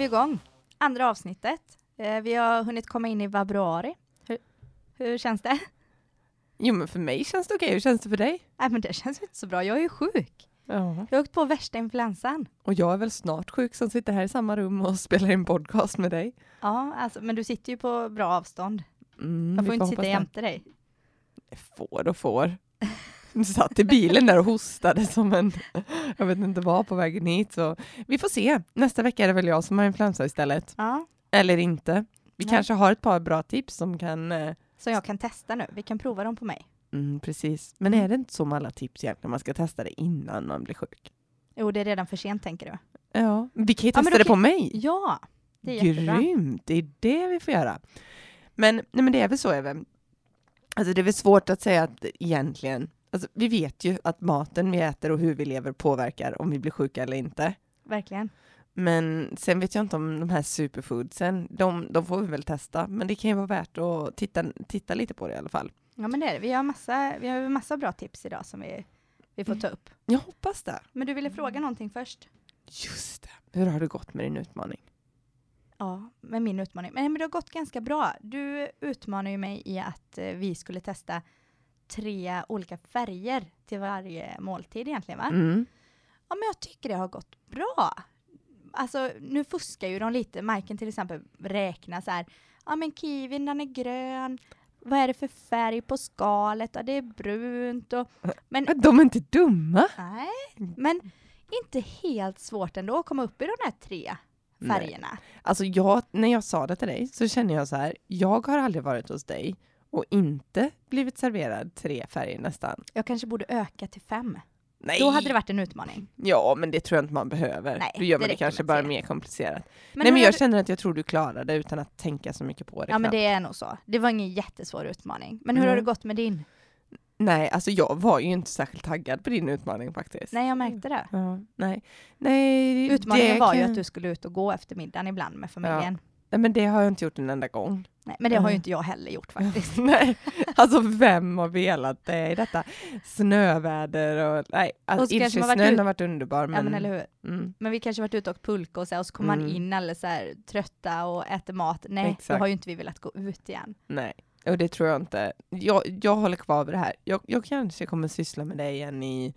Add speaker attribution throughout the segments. Speaker 1: igång. Andra avsnittet. Eh, Vi har hunnit komma in i februari. Hur, hur känns det?
Speaker 2: Jo men för mig känns det okej, hur känns det för dig?
Speaker 1: Nej, men det känns inte så bra. Jag är ju sjuk.
Speaker 2: Ja.
Speaker 1: Jag har åkt på värsta influensan.
Speaker 2: Och jag är väl snart sjuk som sitter här i samma rum och spelar in podcast med dig.
Speaker 1: Ja, alltså, men du sitter ju på bra avstånd.
Speaker 2: Mm,
Speaker 1: Jag
Speaker 2: vi
Speaker 1: får inte
Speaker 2: hoppas
Speaker 1: sitta
Speaker 2: det.
Speaker 1: jämte dig.
Speaker 2: Får och får. Du satt i bilen där och hostade som en, jag vet inte vad, på vägen hit. Så vi får se. Nästa vecka är det väl jag som har influensa istället.
Speaker 1: Ja,
Speaker 2: Eller inte. Vi
Speaker 1: Nej.
Speaker 2: kanske har ett par bra tips som kan... eh,
Speaker 1: som jag kan testa nu. Vi kan prova dem på mig.
Speaker 2: Mm, precis. Men är det inte så med alla tips egentligen? Man ska testa det innan man blir sjuk.
Speaker 1: Jo, det är redan för sent tänker du.
Speaker 2: Ja, vi kan ju
Speaker 1: Ja, men
Speaker 2: testa
Speaker 1: då
Speaker 2: det
Speaker 1: kan-
Speaker 2: på mig.
Speaker 1: Ja, det är jättebra.
Speaker 2: Grymt! Det är det vi får göra. Men, nej, men det är väl så, även. Alltså det är väl svårt att säga att egentligen, alltså vi vet ju att maten vi äter och hur vi lever påverkar om vi blir sjuka eller inte.
Speaker 1: Verkligen.
Speaker 2: Men sen vet jag inte om de här superfoodsen, de, de får vi väl testa, men det kan ju vara värt att titta, titta lite på det i alla fall.
Speaker 1: Ja, men det är det. Vi har massa, vi har massa bra tips idag som vi, vi får ta upp.
Speaker 2: Jag hoppas det.
Speaker 1: Men du ville fråga någonting först?
Speaker 2: Just det. Hur har det gått med din utmaning?
Speaker 1: Ja, med min utmaning. Men, men det har gått ganska bra. Du utmanar ju mig i att eh, vi skulle testa tre olika färger till varje måltid egentligen va?
Speaker 2: Mm.
Speaker 1: Ja men jag tycker det har gått bra. Alltså nu fuskar ju de lite. Marken till exempel räknar så här. Ja men kiwin den är grön. Vad är det för färg på skalet? Ja det är brunt och... Men
Speaker 2: Ja, De är inte dumma.
Speaker 1: nej, men inte helt svårt ändå att komma upp i de här tre
Speaker 2: Nej.
Speaker 1: färgerna.
Speaker 2: Alltså jag, när jag sa det till dig så känner jag så här, jag har aldrig varit hos dig och inte blivit serverad tre färger nästan.
Speaker 1: Jag kanske borde öka till fem.
Speaker 2: Nej!
Speaker 1: Då hade det varit en utmaning.
Speaker 2: Ja, men det tror jag inte man behöver.
Speaker 1: Nej,
Speaker 2: Då gör
Speaker 1: det
Speaker 2: man det
Speaker 1: räcker
Speaker 2: kanske
Speaker 1: med
Speaker 2: bara
Speaker 1: tre.
Speaker 2: mer komplicerat.
Speaker 1: Men
Speaker 2: Nej men
Speaker 1: hur-
Speaker 2: jag känner att jag tror du klarar det utan att tänka så mycket på det.
Speaker 1: Ja men
Speaker 2: knappt.
Speaker 1: det är nog så. Det var ingen jättesvår utmaning. Men hur har det
Speaker 2: Mm.
Speaker 1: gått med din?
Speaker 2: Nej, alltså jag var ju inte särskilt taggad på din utmaning faktiskt.
Speaker 1: Nej jag märkte det.
Speaker 2: Ja, nej. nej
Speaker 1: Utmaningen
Speaker 2: det
Speaker 1: var ju
Speaker 2: kan-
Speaker 1: att du skulle ut och gå efter middagen ibland med familjen.
Speaker 2: Nej men det har jag inte gjort en enda gång.
Speaker 1: Nej, men det har ju
Speaker 2: Mm.
Speaker 1: inte jag heller gjort faktiskt.
Speaker 2: Nej, alltså vem har velat det i detta snöväder och nej,
Speaker 1: Och så
Speaker 2: alltså, i och för
Speaker 1: kanske
Speaker 2: sig
Speaker 1: man varit
Speaker 2: snön
Speaker 1: ut-
Speaker 2: har varit underbar men,
Speaker 1: Ja men eller hur.
Speaker 2: Mm,
Speaker 1: Men vi kanske varit ute och åkt pulka och så, här, och så kommer man
Speaker 2: Mm.
Speaker 1: in alldeles så här, trötta och äter mat. Nej, då
Speaker 2: Exakt.
Speaker 1: har ju inte vi velat gå ut igen.
Speaker 2: nej, och det tror jag inte. Jag, jag håller kvar vid det här. Jag, jag kanske kommer syssla med det igen i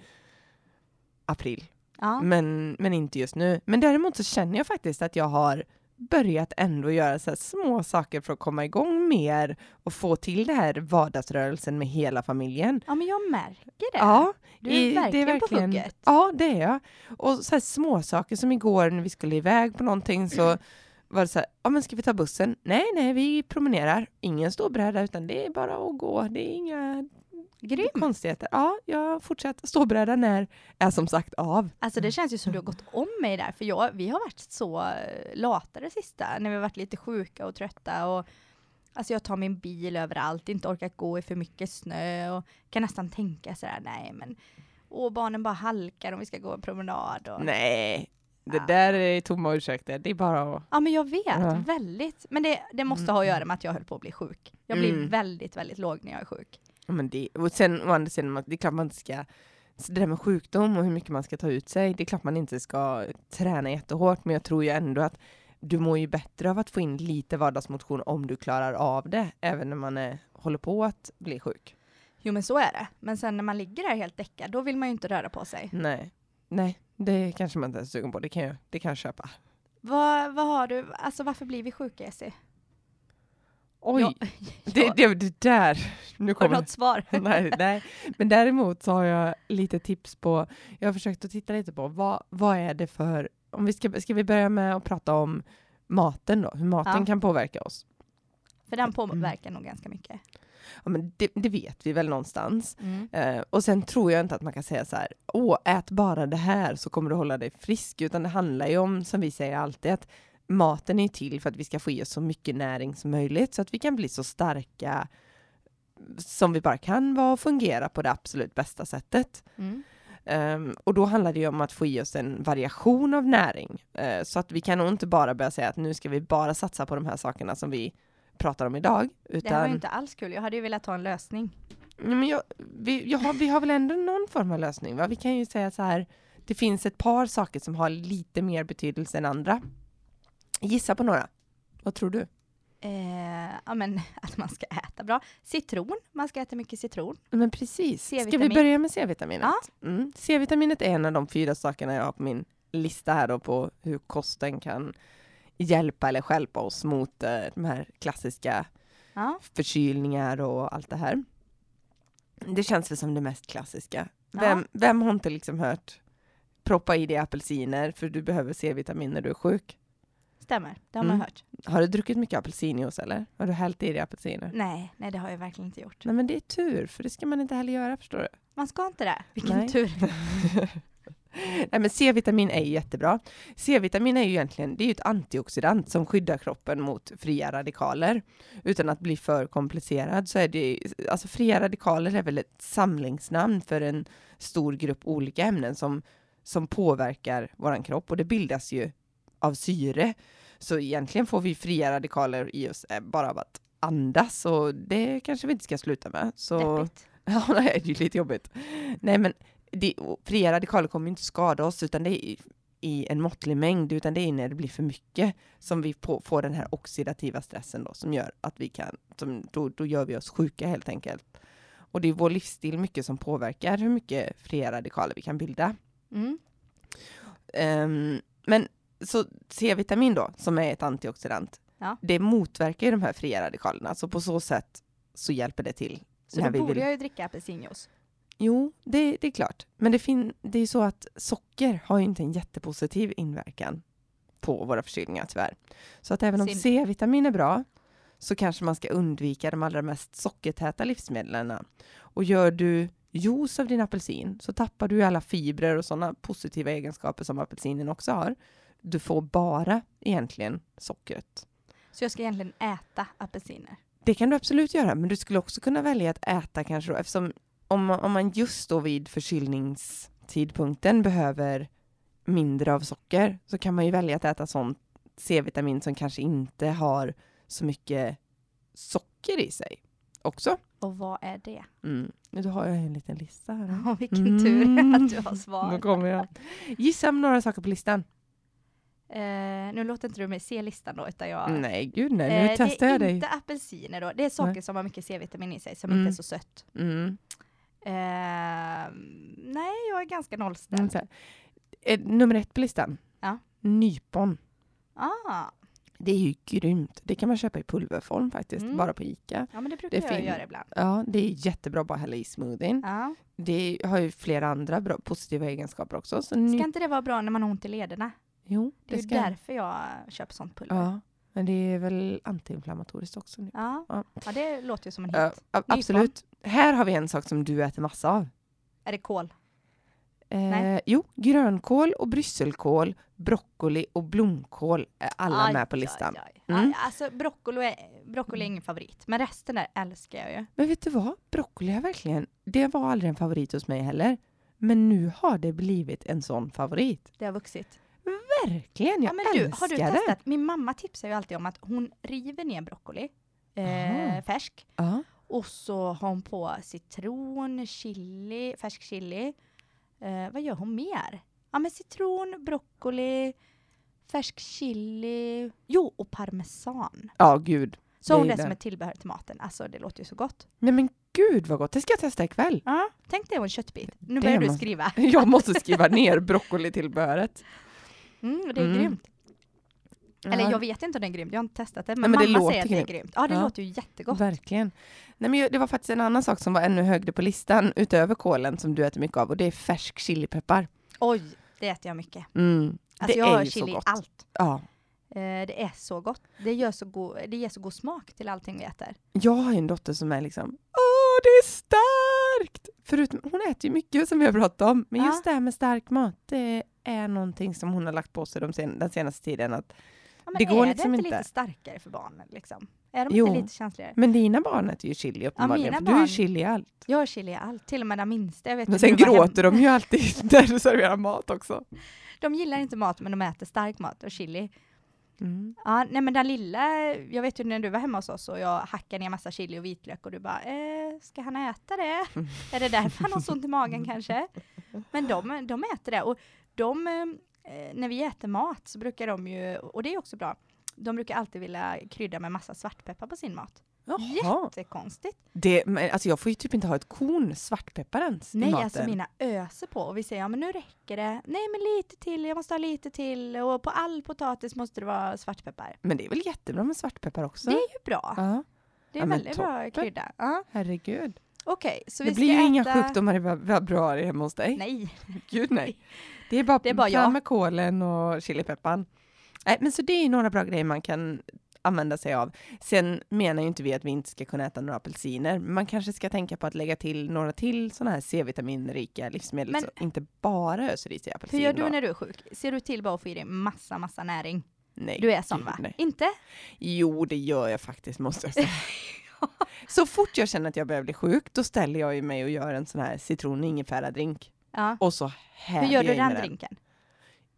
Speaker 2: april,
Speaker 1: Ja,
Speaker 2: men, men inte just nu. Men däremot så känner jag faktiskt att jag har börjat ändå göra så här små saker för att komma igång mer och få till det här vardagsrörelsen med hela familjen.
Speaker 1: ja men jag märker det.
Speaker 2: Ja,
Speaker 1: du är
Speaker 2: i- det är
Speaker 1: verkligen, på
Speaker 2: verkligen-
Speaker 1: hugget.
Speaker 2: Ja, det är jag. Och så här små saker som igår när vi skulle iväg på någonting så var det så här, ja men ska vi ta bussen? Nej, nej, vi promenerar. Ingen ståbräda utan det är bara att gå. Det är inga
Speaker 1: Grymt.
Speaker 2: konstigheter. Ja, jag fortsätter. Ståbrädan är, är som sagt av.
Speaker 1: Alltså det känns ju som du har gått om mig där, för jag, vi har varit så eh, lata det sista, när vi har varit lite sjuka och trötta och alltså jag tar min bil överallt, inte orkat gå i för mycket snö och kan nästan tänka sådär, nej men åh barnen bara halkar om vi ska gå en promenad och
Speaker 2: Nej, det
Speaker 1: Ja.
Speaker 2: där är tomma ursäkter. Det är bara att...
Speaker 1: Ja men jag vet,
Speaker 2: Ja.
Speaker 1: väldigt. Men det, det måste ha att göra med att jag höll på att bli sjuk. Jag blir
Speaker 2: Mm.
Speaker 1: väldigt, väldigt låg när jag är sjuk.
Speaker 2: Ja, Men det, och sen å andra sidan, det är klart man inte ska... Så det där med sjukdom och hur mycket man ska ta ut sig, det är klart man inte ska träna jättehårt, men jag tror ju ändå att du mår ju bättre av att få in lite vardagsmotion om du klarar av det, även när man är, håller på att bli sjuk.
Speaker 1: Jo men så är det. Men sen när man ligger där helt däckad, då vill man ju inte röra på sig.
Speaker 2: Nej, nej, det kanske man inte är så sugen på. Det kan jag, det kan jag köpa.
Speaker 1: Vad, vad har du, alltså varför blir vi sjuka Essie?
Speaker 2: Oj,
Speaker 1: Ja,
Speaker 2: det, det, det där, nu
Speaker 1: Har du
Speaker 2: kommer
Speaker 1: något svar?
Speaker 2: nej, nej. Men däremot så har jag lite tips på, jag har försökt att titta lite på vad, vad är det för, om vi ska, ska vi börja med att prata om maten då, hur maten
Speaker 1: Ja.
Speaker 2: kan påverka oss.
Speaker 1: För den
Speaker 2: Mm.
Speaker 1: påverkar nog ganska mycket.
Speaker 2: Ja, men det, det vet vi väl någonstans. Eh, och sen tror jag inte att man kan säga så här, åh, ät bara det här så kommer du hålla dig frisk, utan det handlar ju om, som vi säger alltid, att maten är ju till för att vi ska få i oss så mycket näring som möjligt så att vi kan bli så starka som vi bara kan vara och fungera på det absolut bästa sättet. Ehm, och då handlar det ju om att få i oss en variation av näring. Eh, så att vi kan nog inte bara börja säga att nu ska vi bara satsa på de här sakerna som vi pratar om idag.
Speaker 1: Det här var ju
Speaker 2: Utan,
Speaker 1: inte alls kul. Jag hade ju velat ha en lösning.
Speaker 2: Nej, men jag, vi, jag har, vi har väl ändå någon form av lösning? Va? Vi kan ju säga så här, det finns ett par saker som har lite mer betydelse än andra. Gissa på några. Vad tror du?
Speaker 1: Eh, ja, men att man ska äta bra. Citron, man ska äta mycket citron.
Speaker 2: Men precis. Ska vi
Speaker 1: C-vitamin.
Speaker 2: börja med C-vitaminet?
Speaker 1: Ja.
Speaker 2: Mm. C-vitaminet är en av de fyra sakerna jag har på min lista här då på hur kosten kan hjälpa eller stjälpa oss mot eh, de här klassiska
Speaker 1: Ja.
Speaker 2: förkylningar och allt det här. Det känns väl som det mest klassiska.
Speaker 1: Ja.
Speaker 2: Vem, vem har inte liksom hört proppa i dig apelsiner för du behöver C-vitamin när du är sjuk?
Speaker 1: Stämmer, det har
Speaker 2: Mm.
Speaker 1: man hört.
Speaker 2: Har du druckit mycket apelsinjuice eller? Har du hällt i dig apelsiner?
Speaker 1: Nej, nej det har jag verkligen inte gjort.
Speaker 2: Nej men det är tur, för det ska man inte heller göra förstår du.
Speaker 1: Man ska inte det. Vilken
Speaker 2: Nej.
Speaker 1: tur.
Speaker 2: Nej men C-vitamin är ju jättebra. C-vitamin är ju egentligen, det är ju ett antioxidant som skyddar kroppen mot fria radikaler. Utan att bli för komplicerad så är det, alltså fria radikaler är väl ett samlingsnamn för en stor grupp olika ämnen som, som påverkar våran kropp och det bildas ju av syre. Så egentligen får vi fria radikaler i oss eh, bara av att andas och det kanske vi inte ska sluta med. Så...
Speaker 1: Deppigt.
Speaker 2: Ja, nej, det är ju lite jobbigt. Nej, men det, och fria radikaler kommer ju inte skada oss, utan det är i, i en måttlig mängd, utan det är när det blir för mycket som vi på, får den här oxidativa stressen då, som gör att vi kan, som, då, då gör vi oss sjuka helt enkelt. Och det är vår livsstil mycket som påverkar hur mycket fria radikaler vi kan bilda.
Speaker 1: Mm.
Speaker 2: Ehm, men så C-vitamin då, som är ett antioxidant,
Speaker 1: Ja.
Speaker 2: det motverkar ju de här fria radikalerna, så på så sätt så hjälper det till.
Speaker 1: Så
Speaker 2: när
Speaker 1: då
Speaker 2: vi
Speaker 1: borde
Speaker 2: vill-
Speaker 1: jag ju dricka apelsinjuice.
Speaker 2: Jo, det, det är klart. Men det, fin- det är ju så att socker har ju inte en jättepositiv inverkan på våra förkylningar tyvärr. Så att även om
Speaker 1: Synd.
Speaker 2: C-vitamin är bra så kanske man ska undvika de allra mest sockertäta livsmedlen. Och gör du juice av din apelsin så tappar du ju alla fibrer och sådana positiva egenskaper som apelsinen också har. Du får bara egentligen sockret.
Speaker 1: Så jag ska egentligen äta apelsiner.
Speaker 2: Det kan du absolut göra, men du skulle också kunna välja att äta kanske då, eftersom om man, om man just då vid förkylningstidpunkten behöver mindre av socker så kan man ju välja att äta sånt C-vitamin som kanske inte har så mycket socker i sig också.
Speaker 1: Och vad är det?
Speaker 2: Mm. Nu har jag ju en liten lista här.
Speaker 1: Åh, vilken tur att du har svar.
Speaker 2: Nu Mm. kommer jag. Gissa om några saker på listan.
Speaker 1: Eh, nu låter inte du mig se listan då, utan jag...
Speaker 2: Nej, gud nej,
Speaker 1: Eh,
Speaker 2: nu testar jag
Speaker 1: Det är
Speaker 2: dig.
Speaker 1: inte apelsiner då. Det är saker
Speaker 2: Nej.
Speaker 1: som har mycket C-vitamin i sig, som
Speaker 2: Mm.
Speaker 1: inte är så sött.
Speaker 2: Mm.
Speaker 1: Eh, nej, jag är ganska nollställd.
Speaker 2: Mm, så här. Eh, Nummer ett på listan.
Speaker 1: Ja.
Speaker 2: Nypon. Mm.
Speaker 1: Ah,
Speaker 2: Det är ju grymt. Det kan man köpa i pulverform faktiskt,
Speaker 1: Mm.
Speaker 2: bara på Ica.
Speaker 1: ja, men det
Speaker 2: Det
Speaker 1: brukar
Speaker 2: är
Speaker 1: jag
Speaker 2: fin.
Speaker 1: göra ibland.
Speaker 2: Ja, det är jättebra att bara hälla i smoothien.
Speaker 1: Ja.
Speaker 2: Det har ju flera andra bra, positiva egenskaper också. Så ny-
Speaker 1: Ska inte det vara bra när man har ont i lederna?
Speaker 2: jo,
Speaker 1: Det är ju därför jag köper sånt pulver. Ja.
Speaker 2: Ja, men det är väl antiinflammatoriskt också nu.
Speaker 1: Ja.
Speaker 2: Ja.
Speaker 1: det låter ju som en hit.
Speaker 2: Ja, a- absolut. Här har vi en sak som du äter massa av.
Speaker 1: Är det kål?
Speaker 2: Eh,
Speaker 1: Nej.
Speaker 2: jo, grönkål och brysselkål, broccoli och blomkål är alla
Speaker 1: Aj,
Speaker 2: med på
Speaker 1: aj,
Speaker 2: listan.
Speaker 1: aj.
Speaker 2: Mm.
Speaker 1: Aj, Alltså broccoli är, broccoli är ingen favorit, men resten där älskar jag ju.
Speaker 2: Men vet du vad? Broccoli har verkligen, det var aldrig en favorit hos mig heller. Men nu har det blivit en sån favorit.
Speaker 1: Det har vuxit.
Speaker 2: Verkligen, jag
Speaker 1: Ja, men du,
Speaker 2: älskar
Speaker 1: har du
Speaker 2: det.
Speaker 1: testat? Min mamma tipsar ju alltid om att hon river ner broccoli,
Speaker 2: Aha.
Speaker 1: eh, färsk,
Speaker 2: Ja.
Speaker 1: och så har hon på citron, chili, färsk chili. Eh, vad gör hon mer? Ja men citron, broccoli, färsk chili, jo och parmesan.
Speaker 2: ja, gud.
Speaker 1: Så har hon
Speaker 2: Det är
Speaker 1: det som
Speaker 2: det.
Speaker 1: ett tillbehör till maten. Alltså det låter ju så gott.
Speaker 2: Nej men gud vad gott, det ska jag testa ikväll.
Speaker 1: Ja. Tänk dig en köttbit. Nu börjar du
Speaker 2: måste-
Speaker 1: skriva.
Speaker 2: Jag måste skriva ner broccoli till böret.
Speaker 1: Mm, det är
Speaker 2: Mm.
Speaker 1: grymt. Eller
Speaker 2: Ja,
Speaker 1: jag vet inte om det är grymt, jag har inte testat det. Men,
Speaker 2: men det
Speaker 1: mamma
Speaker 2: låter
Speaker 1: säger att det är
Speaker 2: grymt.
Speaker 1: grymt. Ja det
Speaker 2: Ja. Mm.
Speaker 1: låter ju jättegott.
Speaker 2: Verkligen. Nej men jag- det var faktiskt en annan sak som var ännu högre på listan utöver kålen som du äter mycket av och det är färsk chilipeppar.
Speaker 1: Oj, det äter jag mycket.
Speaker 2: Mm.
Speaker 1: Alltså
Speaker 2: det
Speaker 1: jag
Speaker 2: är
Speaker 1: har
Speaker 2: ju
Speaker 1: chili
Speaker 2: så
Speaker 1: i
Speaker 2: gott.
Speaker 1: allt.
Speaker 2: Ja.
Speaker 1: Eh, Det är så gott. Det, gör så god, det ger så god smak till allting vi äter.
Speaker 2: Jag har ju en dotter som är liksom Åh, det är starkt! Förutom, hon äter ju mycket som vi har pratat om, men
Speaker 1: Ja.
Speaker 2: just det här med stark mat, det är någonting som hon har lagt på sig de sen, den senaste tiden att
Speaker 1: Ja, men
Speaker 2: Det går
Speaker 1: är
Speaker 2: liksom
Speaker 1: det inte
Speaker 2: inte.
Speaker 1: lite starkare för barnen? Liksom? Är de
Speaker 2: Jo.
Speaker 1: inte lite känsligare?
Speaker 2: Men dina barn äter ju chili uppenbarligen,
Speaker 1: mina
Speaker 2: för du är ju
Speaker 1: barn-
Speaker 2: chili i allt.
Speaker 1: Jag har chili i allt, till och med den minsta. Jag vet
Speaker 2: Men
Speaker 1: ju när
Speaker 2: sen
Speaker 1: du var hem-
Speaker 2: gråter de ju alltid när du serverar mat också.
Speaker 1: De gillar inte mat men de äter stark mat och chili. Ja, nej men den lilla, jag vet ju när du var hemma hos oss och jag hackade ner massa chili och vitlök och du bara, eh, ska han äta det? Är det därför han har så ont i magen kanske? Men de, de äter det och de, eh, när vi äter mat så brukar de ju, och det är också bra, de brukar alltid vilja krydda med massa svartpeppar på sin mat.
Speaker 2: Jaha.
Speaker 1: Jättekonstigt.
Speaker 2: Det, men, alltså jag får ju typ inte ha ett korn svartpeppar ens i
Speaker 1: Nej,
Speaker 2: maten.
Speaker 1: alltså mina öser på och vi säger ja men nu räcker det. Nej men lite till, jag måste ha lite till och på all potatis måste det vara svartpeppar.
Speaker 2: Men det är väl jättebra med svartpeppar också?
Speaker 1: Det är ju bra.
Speaker 2: Ja,
Speaker 1: Det är
Speaker 2: Ja, men
Speaker 1: väldigt bra
Speaker 2: toppen.
Speaker 1: krydda. Ja.
Speaker 2: herregud.
Speaker 1: Okej, så vi
Speaker 2: Det
Speaker 1: ska
Speaker 2: blir ju
Speaker 1: äta...
Speaker 2: inga sjukdomar i fe- februari hemma hos dig.
Speaker 1: Nej,
Speaker 2: Gud nej. Det är bara,
Speaker 1: Det är bara
Speaker 2: fram
Speaker 1: jag.
Speaker 2: med kålen och chilipepparn. Nej, men så det är ju några bra grejer man kan använda sig av. Sen menar ju inte vi att vi inte ska kunna äta några apelsiner. men Man kanske ska tänka på att lägga till några till sådana här C-vitaminrika livsmedel.
Speaker 1: Men-
Speaker 2: så inte bara öser i sig
Speaker 1: hur
Speaker 2: apelsin.
Speaker 1: gör du
Speaker 2: då.
Speaker 1: när du är sjuk? Ser du till bara att få i dig massa, massa näring?
Speaker 2: Nej.
Speaker 1: Du är sån
Speaker 2: gud,
Speaker 1: va?
Speaker 2: nej.
Speaker 1: Inte?
Speaker 2: Jo, det gör jag faktiskt måste jag säga. Så fort jag känner att jag börjar bli sjuk, då ställer jag ju mig och gör en sån här citron och ingefära-drink.
Speaker 1: Ja.
Speaker 2: Och så häver
Speaker 1: Hur gör
Speaker 2: jag
Speaker 1: du
Speaker 2: i mig
Speaker 1: den drinken?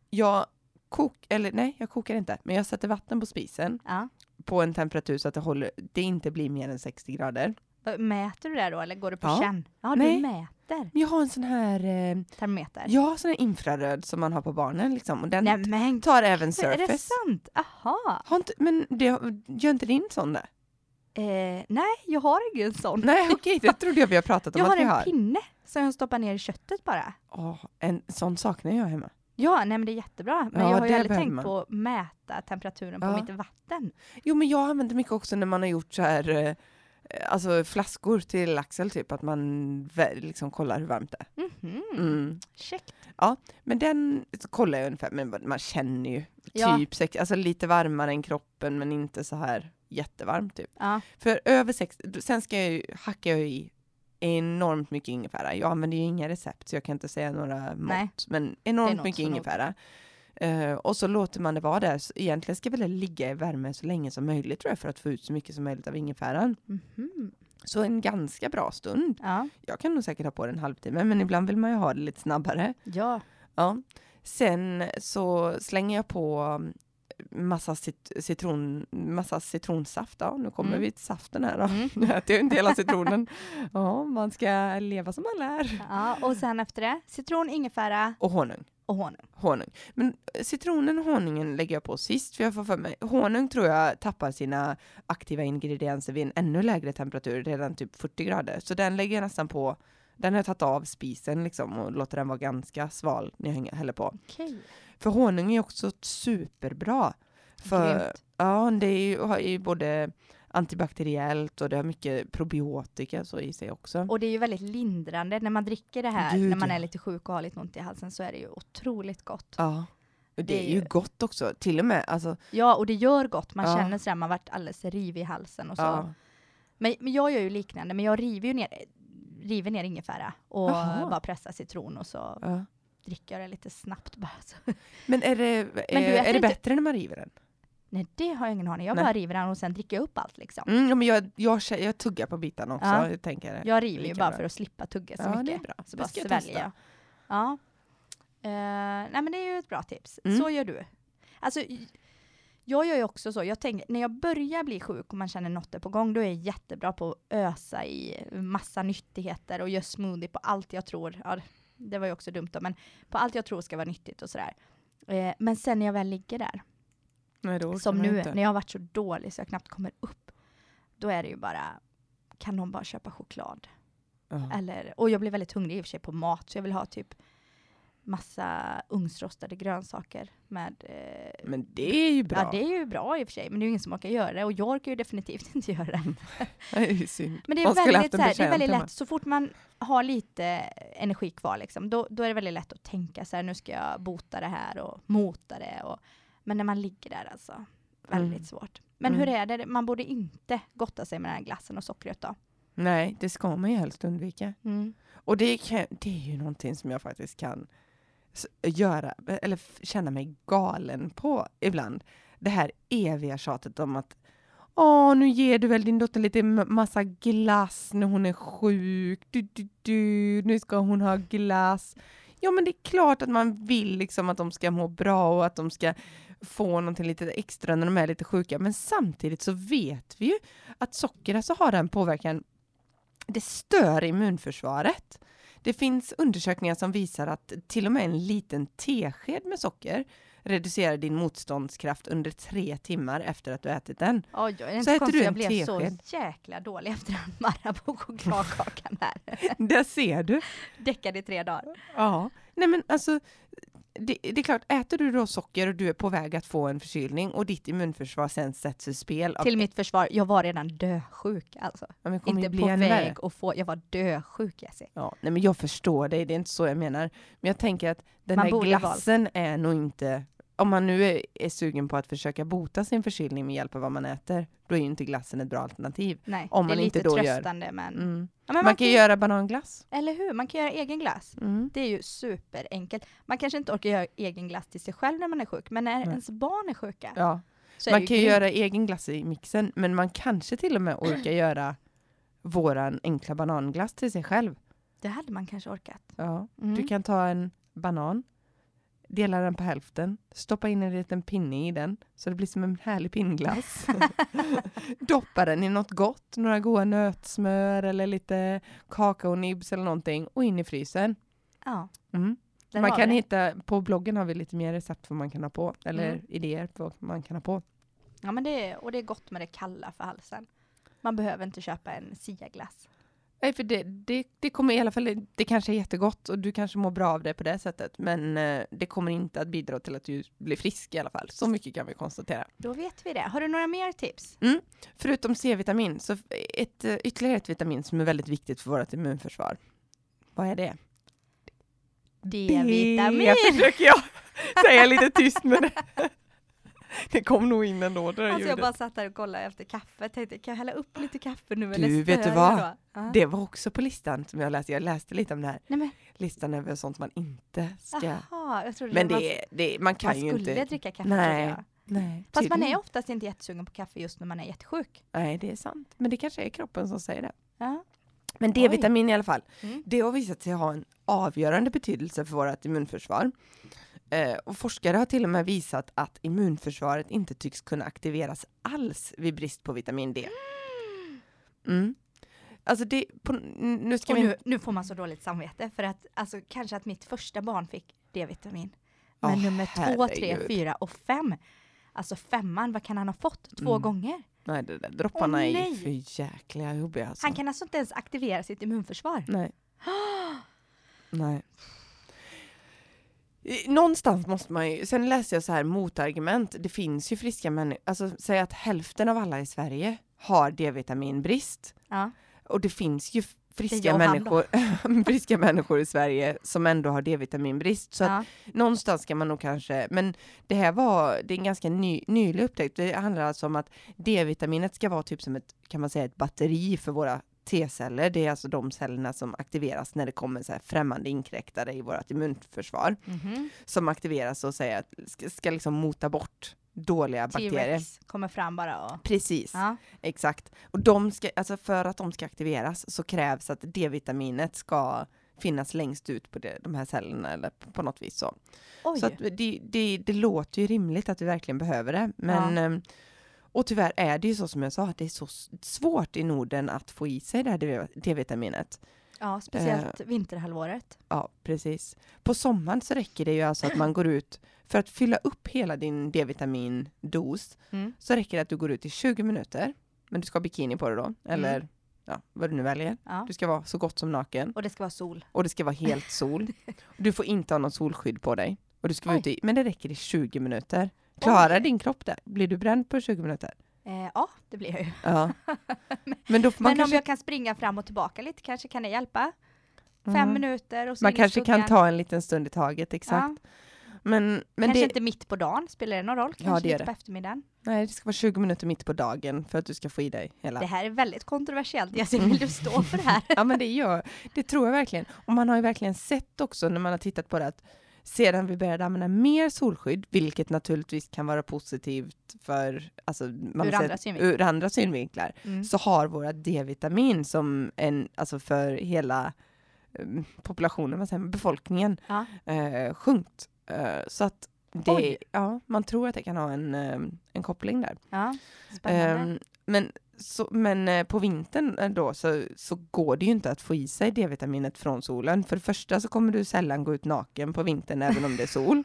Speaker 2: Jag kok, eller nej, jag kokar inte, men jag sätter vatten på spisen
Speaker 1: Ja.
Speaker 2: på en temperatur så att det, håller, det inte blir mer än 60 grader.
Speaker 1: Vad- Mäter du det då eller går du på
Speaker 2: Ja.
Speaker 1: känn? Ja,
Speaker 2: Nej.
Speaker 1: du mäter
Speaker 2: Men jag har en sån här, eh,
Speaker 1: termometer.
Speaker 2: jag har sån här infraröd som man har på barnen liksom och den
Speaker 1: Nej men
Speaker 2: tar även
Speaker 1: gud, är det
Speaker 2: surface.
Speaker 1: sant? Aha.
Speaker 2: Har inte, men det, gör inte din sån det?
Speaker 1: Eh, nej, jag har ingen sån.
Speaker 2: Nej okej, det trodde jag vi har pratat om
Speaker 1: Jag har
Speaker 2: att vi
Speaker 1: en
Speaker 2: har.
Speaker 1: pinne som jag stoppar ner i köttet bara.
Speaker 2: Åh, en sån saknar jag hemma.
Speaker 1: Ja, nej men det är jättebra. Men
Speaker 2: Ja,
Speaker 1: jag har ju
Speaker 2: det
Speaker 1: aldrig
Speaker 2: behöver
Speaker 1: tänkt
Speaker 2: man.
Speaker 1: på att mäta temperaturen på
Speaker 2: Ja.
Speaker 1: mitt vatten.
Speaker 2: Jo men jag använder mycket också när man har gjort så här eh, Alltså flaskor till Axel typ, att man vä- liksom kollar hur varmt det
Speaker 1: Mhm,
Speaker 2: är. Mm.
Speaker 1: Check.
Speaker 2: Men den kollar jag ungefär, men man känner ju
Speaker 1: Ja.
Speaker 2: typ sex, alltså lite varmare än kroppen men inte så här jättevarmt typ.
Speaker 1: Ja.
Speaker 2: För över sex, sen ska jag ju, hackar jag ju i enormt mycket ingefära. Jag använder ju inga recept så jag kan inte säga några mått,
Speaker 1: Nej.
Speaker 2: men
Speaker 1: Det är
Speaker 2: enormt
Speaker 1: något
Speaker 2: mycket
Speaker 1: för något.
Speaker 2: ingefära. Eh, och så låter man det vara där. Så egentligen ska väl det ligga i värme så länge som möjligt tror jag för att få ut så mycket som möjligt av ingefäran.
Speaker 1: Mhm,
Speaker 2: Så en ganska bra stund.
Speaker 1: ja.
Speaker 2: Jag kan nog säkert ha på det en halvtimme men ibland vill man ju ha det lite snabbare.
Speaker 1: ja.
Speaker 2: Ja. Sen så slänger jag på mm, massa, cit citron, massa citronsaft. Ja, nu kommer
Speaker 1: Mm.
Speaker 2: vi till saften här då.
Speaker 1: Mm.
Speaker 2: Nu äter jag ju inte hela citronen. Ja, man ska leva som man lär.
Speaker 1: ja. Och sen efter det, citron, ingefära
Speaker 2: Och honung.
Speaker 1: och honung.
Speaker 2: honung. Men eh, citronen och honungen lägger jag på sist för jag får för mig. Honung tror jag tappar sina aktiva ingredienser vid en ännu lägre temperatur, redan typ 40 grader. Så den lägger jag nästan på, den har jag tagit av spisen liksom och låter den vara ganska sval när jag hänger- häller på.
Speaker 1: Okej.
Speaker 2: För honung är också superbra. För,
Speaker 1: Grymt.
Speaker 2: ja, det är ju, har ju både antibakteriellt och det har mycket probiotika så i sig också.
Speaker 1: Och det är ju väldigt lindrande när man dricker det här,
Speaker 2: Gud,
Speaker 1: när man
Speaker 2: ja.
Speaker 1: är lite sjuk och har lite ont i halsen så är det ju otroligt gott.
Speaker 2: Ja. Och det är ju gott också, till och med. Alltså,
Speaker 1: Ja, och det gör gott. Man
Speaker 2: Ja.
Speaker 1: känner sådär, man varit alldeles rivig i halsen och så.
Speaker 2: ja.
Speaker 1: Men, men jag gör ju liknande, men jag river ju ner, river ner ingefära och
Speaker 2: Jaha.
Speaker 1: bara pressar citron och så
Speaker 2: Ja.
Speaker 1: dricker jag det lite snabbt bara. Så.
Speaker 2: Men är det, är,
Speaker 1: äter
Speaker 2: är det
Speaker 1: inte-
Speaker 2: bättre när man river den?
Speaker 1: Nej, det har jag ingen aning. Jag
Speaker 2: Nej.
Speaker 1: bara river den och sen dricker jag upp allt liksom.
Speaker 2: Mm, ja, men jag, jag, kä- jag tuggar på bitarna också,
Speaker 1: Ja.
Speaker 2: jag tänker det.
Speaker 1: Jag river ju
Speaker 2: lika
Speaker 1: bara
Speaker 2: bra.
Speaker 1: för att slippa tugga så
Speaker 2: Ja,
Speaker 1: mycket.
Speaker 2: det är bra.
Speaker 1: Så
Speaker 2: Det
Speaker 1: Alltså, bara
Speaker 2: ska jag
Speaker 1: sväljer
Speaker 2: testa.
Speaker 1: jag. Ja. Eh, nej men det är ju ett bra tips.
Speaker 2: Mm.
Speaker 1: Så gör du. Alltså, j- jag gör ju också så, jag tänker, när jag börjar bli sjuk och man känner något är på gång, då är jag jättebra på att ösa i massa nyttigheter och göra smoothie på allt jag tror, ja, det var ju också dumt då, men på allt jag tror ska vara nyttigt och sådär. Eh, men sen när jag väl ligger där,
Speaker 2: Nej, då orkar
Speaker 1: som
Speaker 2: man
Speaker 1: nu,
Speaker 2: inte.
Speaker 1: när jag har varit så dålig så jag knappt kommer upp, då är det ju bara, kan någon bara köpa choklad?
Speaker 2: Ja.
Speaker 1: Eller, och jag blir väldigt hungrig i och för sig på mat, så jag vill ha typ massa ugnsrostade grönsaker med eh,
Speaker 2: Men det är ju bra.
Speaker 1: Ja det är ju bra i och för sig, men det är ju ingen som orkar göra det och jag orkar ju definitivt inte göra det.
Speaker 2: det är ju synd.
Speaker 1: Men det är
Speaker 2: Mm. Man skulle
Speaker 1: väldigt,
Speaker 2: haft en
Speaker 1: så här, det är
Speaker 2: betjänt
Speaker 1: väldigt
Speaker 2: hemma.
Speaker 1: lätt, så fort man har lite energi kvar liksom, då, då är det väldigt lätt att tänka så här, nu ska jag bota det här och mota det. Och, men när man ligger där alltså, väldigt
Speaker 2: Mm.
Speaker 1: svårt. Men hur
Speaker 2: Mm.
Speaker 1: är det, man borde inte gotta sig med den här glassen och sockret då?
Speaker 2: Nej, det ska man ju helst undvika. Och det, kan, det är ju någonting som jag faktiskt kan s- göra, eller f- känna mig galen på ibland. Det här eviga tjatet om att Åh, nu ger du väl din dotter lite m- massa glass när hon är sjuk. Du, du, du, nu ska hon ha glass. Ja, men det är klart att man vill liksom att de ska må bra och att de ska få någonting lite extra när de är lite sjuka. Men samtidigt så vet vi ju att socker alltså har den påverkan. Det stör immunförsvaret. Det finns undersökningar som visar att till och med en liten tesked med socker reducerar din motståndskraft under tre timmar efter att du ätit den.
Speaker 1: Oj, oj, det är inte
Speaker 2: Så äter
Speaker 1: så konstigt
Speaker 2: du
Speaker 1: jag
Speaker 2: en
Speaker 1: blev
Speaker 2: tesked.
Speaker 1: så jäkla dålig efter den Marabou-chokladkakan här.
Speaker 2: Där ser du!
Speaker 1: Däckade i tre dagar.
Speaker 2: Ja. Nej men alltså, det, det är klart, äter du då socker och du är på väg att få en förkylning och ditt immunförsvar sen sätts ur spel. Av,
Speaker 1: Till mitt försvar, jag var redan dösjuk alltså.
Speaker 2: ja, men kommer
Speaker 1: inte
Speaker 2: ju bli
Speaker 1: på
Speaker 2: ännu värre.
Speaker 1: väg att få, jag var dösjuk Jessie.
Speaker 2: Ja, nej men jag förstår dig, det är inte så jag menar. Men jag tänker att den
Speaker 1: Man
Speaker 2: där
Speaker 1: borde valt.
Speaker 2: glassen är nog inte, om man nu är, är sugen på att försöka bota sin förkylning med hjälp av vad man äter, då är ju inte glassen ett bra alternativ.
Speaker 1: Nej,
Speaker 2: Om
Speaker 1: det är
Speaker 2: man inte
Speaker 1: lite
Speaker 2: då gör-
Speaker 1: tröstande men...
Speaker 2: Mm.
Speaker 1: Ja, men
Speaker 2: Man, kan ju göra bananglass.
Speaker 1: Eller hur, man kan göra egen glass.
Speaker 2: Mm.
Speaker 1: Det är ju superenkelt. Man kanske inte orkar göra egen glass till sig själv när man är sjuk, men när
Speaker 2: Nej.
Speaker 1: ens barn är sjuka
Speaker 2: Ja.
Speaker 1: så är det
Speaker 2: Man
Speaker 1: ju
Speaker 2: kan ju
Speaker 1: grymt.
Speaker 2: göra egen glass i mixen, men man kanske till och med orkar göra våran enkla bananglass till sig själv.
Speaker 1: Det hade man kanske orkat.
Speaker 2: Ja.
Speaker 1: Mm.
Speaker 2: Du kan ta en banan, dela den på hälften, stoppa in en liten pinne i den så det blir som en härlig pinnglass. Doppa den i något gott, några goda nötsmör eller lite kakaonibs eller någonting och in i frysen.
Speaker 1: Ja,
Speaker 2: Mm.
Speaker 1: där
Speaker 2: Man
Speaker 1: har
Speaker 2: kan
Speaker 1: vi det.
Speaker 2: hitta, på bloggen har vi lite mer recept för vad man kan ha på, eller
Speaker 1: Mm.
Speaker 2: idéer på vad man kan ha på.
Speaker 1: Ja, men det är, och det är gott med det kalla för halsen. Man behöver inte köpa en siaglass.
Speaker 2: Nej, för det, det, det kommer i alla fall, det kanske är jättegott och du kanske mår bra av det på det sättet, men eh, det kommer inte att bidra till att du blir frisk i alla fall. Så mycket kan vi konstatera.
Speaker 1: Då vet vi det. Har du några mer tips?
Speaker 2: Förutom C-vitamin, så ett, eh, ytterligare ett vitamin som är väldigt viktigt för vårt immunförsvar. Vad är det?
Speaker 1: D-vitamin!
Speaker 2: Det försöker jag säga lite tyst med det. Det kom nog in ändå det där
Speaker 1: Alltså jag
Speaker 2: ljudet.
Speaker 1: bara satt där och kollade efter kaffe, tänkte kan jag hälla upp lite kaffe nu eller
Speaker 2: Du,
Speaker 1: stör
Speaker 2: vet du
Speaker 1: jag
Speaker 2: vad?
Speaker 1: då? Ja.
Speaker 2: Det var också på listan som jag läste. Jag läste lite om den här
Speaker 1: Nej men,
Speaker 2: listan över sånt man inte ska.
Speaker 1: jaha, jag trodde
Speaker 2: Men
Speaker 1: Ah, man,
Speaker 2: det, är- det, man kan
Speaker 1: man
Speaker 2: ju
Speaker 1: skulle
Speaker 2: inte.
Speaker 1: dricka kaffe
Speaker 2: Nej.
Speaker 1: trodde jag.
Speaker 2: Nej,
Speaker 1: Fast man
Speaker 2: tydligen.
Speaker 1: är oftast inte jättesugen på kaffe just när man är jättesjuk.
Speaker 2: Nej, det är sant. Men det kanske är kroppen som säger det.
Speaker 1: Ja.
Speaker 2: Men
Speaker 1: Oj.
Speaker 2: D-vitamin i alla fall,
Speaker 1: Mm.
Speaker 2: det har visat sig ha en avgörande betydelse för vårt immunförsvar. Eh, och forskare har till och med visat att immunförsvaret inte tycks kunna aktiveras alls vid brist på vitamin D. Mm. Alltså det, på, n- nu ska
Speaker 1: Och
Speaker 2: vi...
Speaker 1: nu, nu får man så dåligt samvete för att alltså, kanske att mitt första barn fick D-vitamin. Men
Speaker 2: Åh,
Speaker 1: nummer två, tre,
Speaker 2: herregud.
Speaker 1: fyra och fem. Alltså femman, vad kan han ha fått? Två
Speaker 2: Mm.
Speaker 1: gånger?
Speaker 2: Nej, det där, dropparna
Speaker 1: Åh,
Speaker 2: är ju
Speaker 1: nej.
Speaker 2: för jäkla jobbiga alltså.
Speaker 1: Han kan alltså inte ens aktivera sitt immunförsvar.
Speaker 2: Nej. Nej. I- Någonstans måste man ju, sen läser jag så här motargument, det finns ju friska människor, alltså säg att hälften av alla i Sverige har D-vitaminbrist
Speaker 1: Ja.
Speaker 2: och det finns ju f-
Speaker 1: jag
Speaker 2: friska
Speaker 1: och han
Speaker 2: människor, friska människor i Sverige som ändå har D-vitaminbrist. Så
Speaker 1: ja.
Speaker 2: att någonstans ska man nog kanske, men det här var, det är en ganska ny, nylig upptäckt, det handlar alltså om att D-vitaminet ska vara typ som ett, kan man säga ett batteri för våra T-celler, det är alltså de cellerna som aktiveras när det kommer så här främmande inkräktare i vårt immunförsvar,
Speaker 1: Mhm.
Speaker 2: som aktiveras och säger att ska, ska liksom mota bort dåliga bakterier.
Speaker 1: T-rex kommer fram bara och...
Speaker 2: Precis.
Speaker 1: Ja.
Speaker 2: Exakt. Och de ska, alltså för att de ska aktiveras så krävs att D-vitaminet ska finnas längst ut på det, de här cellerna eller p- på något vis så.
Speaker 1: Oj.
Speaker 2: Så att det, det, det låter ju rimligt att vi verkligen behöver det. Men, ehm, Och tyvärr är det ju så som jag sa, att det är så s- svårt i Norden att få i sig det här D- D-vitaminet.
Speaker 1: ja,
Speaker 2: eh,
Speaker 1: speciellt vinterhalvåret.
Speaker 2: Ja, precis. På sommaren så räcker det ju alltså att man går ut, för att fylla upp hela din D-vitamindos,
Speaker 1: Mm.
Speaker 2: så räcker det att du går ut i 20 minuter, men du ska ha bikini på dig då, eller ja, vad du nu väljer.
Speaker 1: Ja.
Speaker 2: Du ska vara så gott som naken
Speaker 1: Och det ska vara sol.
Speaker 2: och det ska vara helt sol. Du får inte ha någon solskydd på dig. Och du ska vara
Speaker 1: Oj.
Speaker 2: ute i, men det räcker i 20 minuter. Klarar
Speaker 1: Oj.
Speaker 2: din kropp det? Blir du bränd på 20 minuter?
Speaker 1: Eh, ja, det blir jag ju.
Speaker 2: Ja. Men då får man
Speaker 1: men om
Speaker 2: kanske,
Speaker 1: jag kan springa fram och tillbaka lite kanske kan det hjälpa. Fem
Speaker 2: Mm.
Speaker 1: minuter och så
Speaker 2: man
Speaker 1: in i
Speaker 2: kanske kan
Speaker 1: skuggan.
Speaker 2: ta en liten stund i taget,
Speaker 1: Ja.
Speaker 2: exakt. Men, men
Speaker 1: kanske
Speaker 2: det,
Speaker 1: inte mitt på dagen, spelar det någon roll? Kanske
Speaker 2: det gör
Speaker 1: mitt på eftermiddagen.
Speaker 2: nej, det ska vara 20 minuter mitt på dagen för att du ska få i dig hela.
Speaker 1: Det här är väldigt kontroversiellt, jag ser, vill du stå för det här?
Speaker 2: Ja men det gör, det tror jag verkligen. Och man har ju verkligen sett också när man har tittat på det att sedan vi började använda mer solskydd, vilket naturligtvis kan vara positivt för, alltså, man
Speaker 1: Ur
Speaker 2: har
Speaker 1: andra
Speaker 2: sett-
Speaker 1: synvinklar.
Speaker 2: ur andra synvinklar,
Speaker 1: Mm.
Speaker 2: så har våra D-vitamin som en, alltså för hela eh, populationen, vad säger man, befolkningen,
Speaker 1: Ja.
Speaker 2: eh, sjunkit. Eh, så att det,
Speaker 1: Oj.
Speaker 2: ja, man tror att det kan ha en, eh, en ehm, koppling där.
Speaker 1: Ja, spännande.
Speaker 2: Ehm, men Så, men eh, på vintern då så, så går det ju inte att få i sig D-vitaminet från solen. För det första så kommer du sällan gå ut naken på vintern även om det är sol.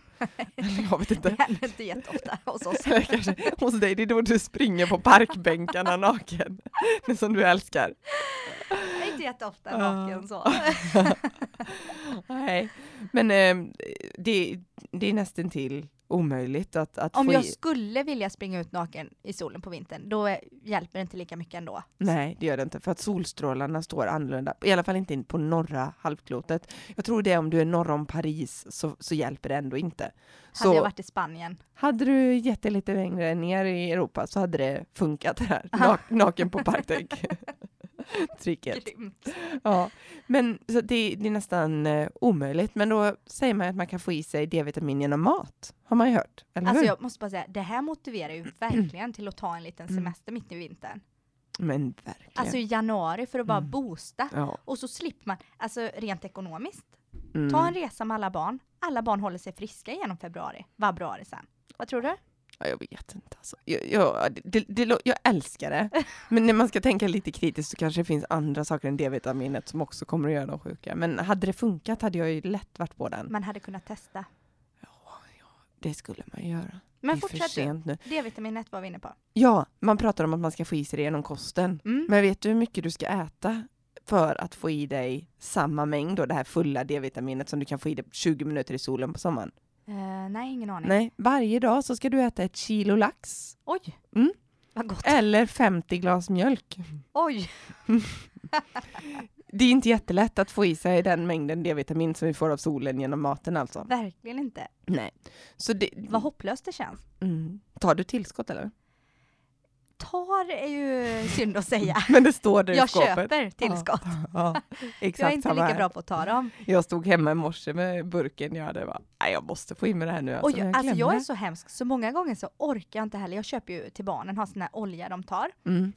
Speaker 2: Eller jag vet inte.
Speaker 1: Det händer inte jätteofta hos oss.
Speaker 2: Eller kanske hos dig, det är då du springer på parkbänkarna naken. Det som du älskar.
Speaker 1: Jag är inte jätteofta
Speaker 2: Ja.
Speaker 1: naken så.
Speaker 2: Nej. Men eh, det, det är nästan till omöjligt att, att
Speaker 1: Om
Speaker 2: få
Speaker 1: jag
Speaker 2: i.
Speaker 1: skulle vilja springa ut naken i solen på vintern, då eh, hjälper det inte lika mycket ändå.
Speaker 2: Nej, det gör det inte. För att solstrålarna står annorlunda. I alla fall inte in på norra halvklotet. Jag tror det är om du är norr om Paris så, så hjälper det ändå inte. Så
Speaker 1: Hade
Speaker 2: hade,
Speaker 1: jag varit i Spanien.
Speaker 2: du gett det lite längre ner i Europa så hade det funkat det här.
Speaker 1: Aha.
Speaker 2: Nak, naken på parkdäck. Tricket.
Speaker 1: Grymt.
Speaker 2: Ja, men så det, det är nästan eh, omöjligt. Men då säger man att man kan få i sig D-vitamin genom mat. Har man ju hört, eller
Speaker 1: Alltså
Speaker 2: hur?
Speaker 1: jag måste bara säga, det här motiverar ju verkligen till att ta en liten
Speaker 2: Mm.
Speaker 1: semester mitt i vintern.
Speaker 2: Men verkligen.
Speaker 1: Alltså i januari för att bara
Speaker 2: Mm.
Speaker 1: boosta.
Speaker 2: ja.
Speaker 1: Och så slipper man, alltså rent ekonomiskt.
Speaker 2: mm.
Speaker 1: Ta en resa med alla barn. Alla barn håller sig friska genom februari, februari sen. Vad tror du?
Speaker 2: ja, jag vet inte. Alltså. Jag, jag, det, det, lå- jag älskar det. Men när man ska tänka lite kritiskt så kanske det finns andra saker än D-vitaminet som också kommer att göra dem sjuka. Men hade det funkat hade jag ju lätt varit på den.
Speaker 1: Man hade kunnat testa.
Speaker 2: Det skulle man göra.
Speaker 1: Men
Speaker 2: det är för
Speaker 1: fortsätt du.
Speaker 2: sent nu.
Speaker 1: D-vitaminet var vi inne på.
Speaker 2: Ja, man pratar om att man ska få i sig det genom kosten.
Speaker 1: Mm.
Speaker 2: Men vet du hur mycket du ska äta för att få i dig samma mängd då det här fulla D-vitaminet som du kan få i dig 20 minuter i solen på sommaren?
Speaker 1: Eh, nej, ingen aning.
Speaker 2: Nej, varje dag så ska du äta ett kilo lax
Speaker 1: Oj!
Speaker 2: Mm.
Speaker 1: Vad gott.
Speaker 2: eller 50 glas mjölk.
Speaker 1: Oj!
Speaker 2: Det är inte jättelätt att få i sig den mängden D-vitamin som vi får av solen genom maten alltså.
Speaker 1: Verkligen inte.
Speaker 2: Nej. Så det,
Speaker 1: Vad hopplöst det känns.
Speaker 2: mm. Tar du tillskott eller?
Speaker 1: Tar är ju synd att säga.
Speaker 2: Men det står där i
Speaker 1: Jag
Speaker 2: skåpet.
Speaker 1: köper tillskott.
Speaker 2: Ja, exakt
Speaker 1: Jag är inte
Speaker 2: samma
Speaker 1: lika
Speaker 2: här.
Speaker 1: bra på att ta dem.
Speaker 2: Jag stod hemma i morse med burken jag hade. Bara, Nej, jag måste få in mig det här nu.
Speaker 1: Och jag,
Speaker 2: men
Speaker 1: alltså
Speaker 2: glömmer
Speaker 1: jag är så hemsk, så många gånger så orkar jag inte heller. Jag köper ju till barnen, har sån här olja de tar.
Speaker 2: det. Mm,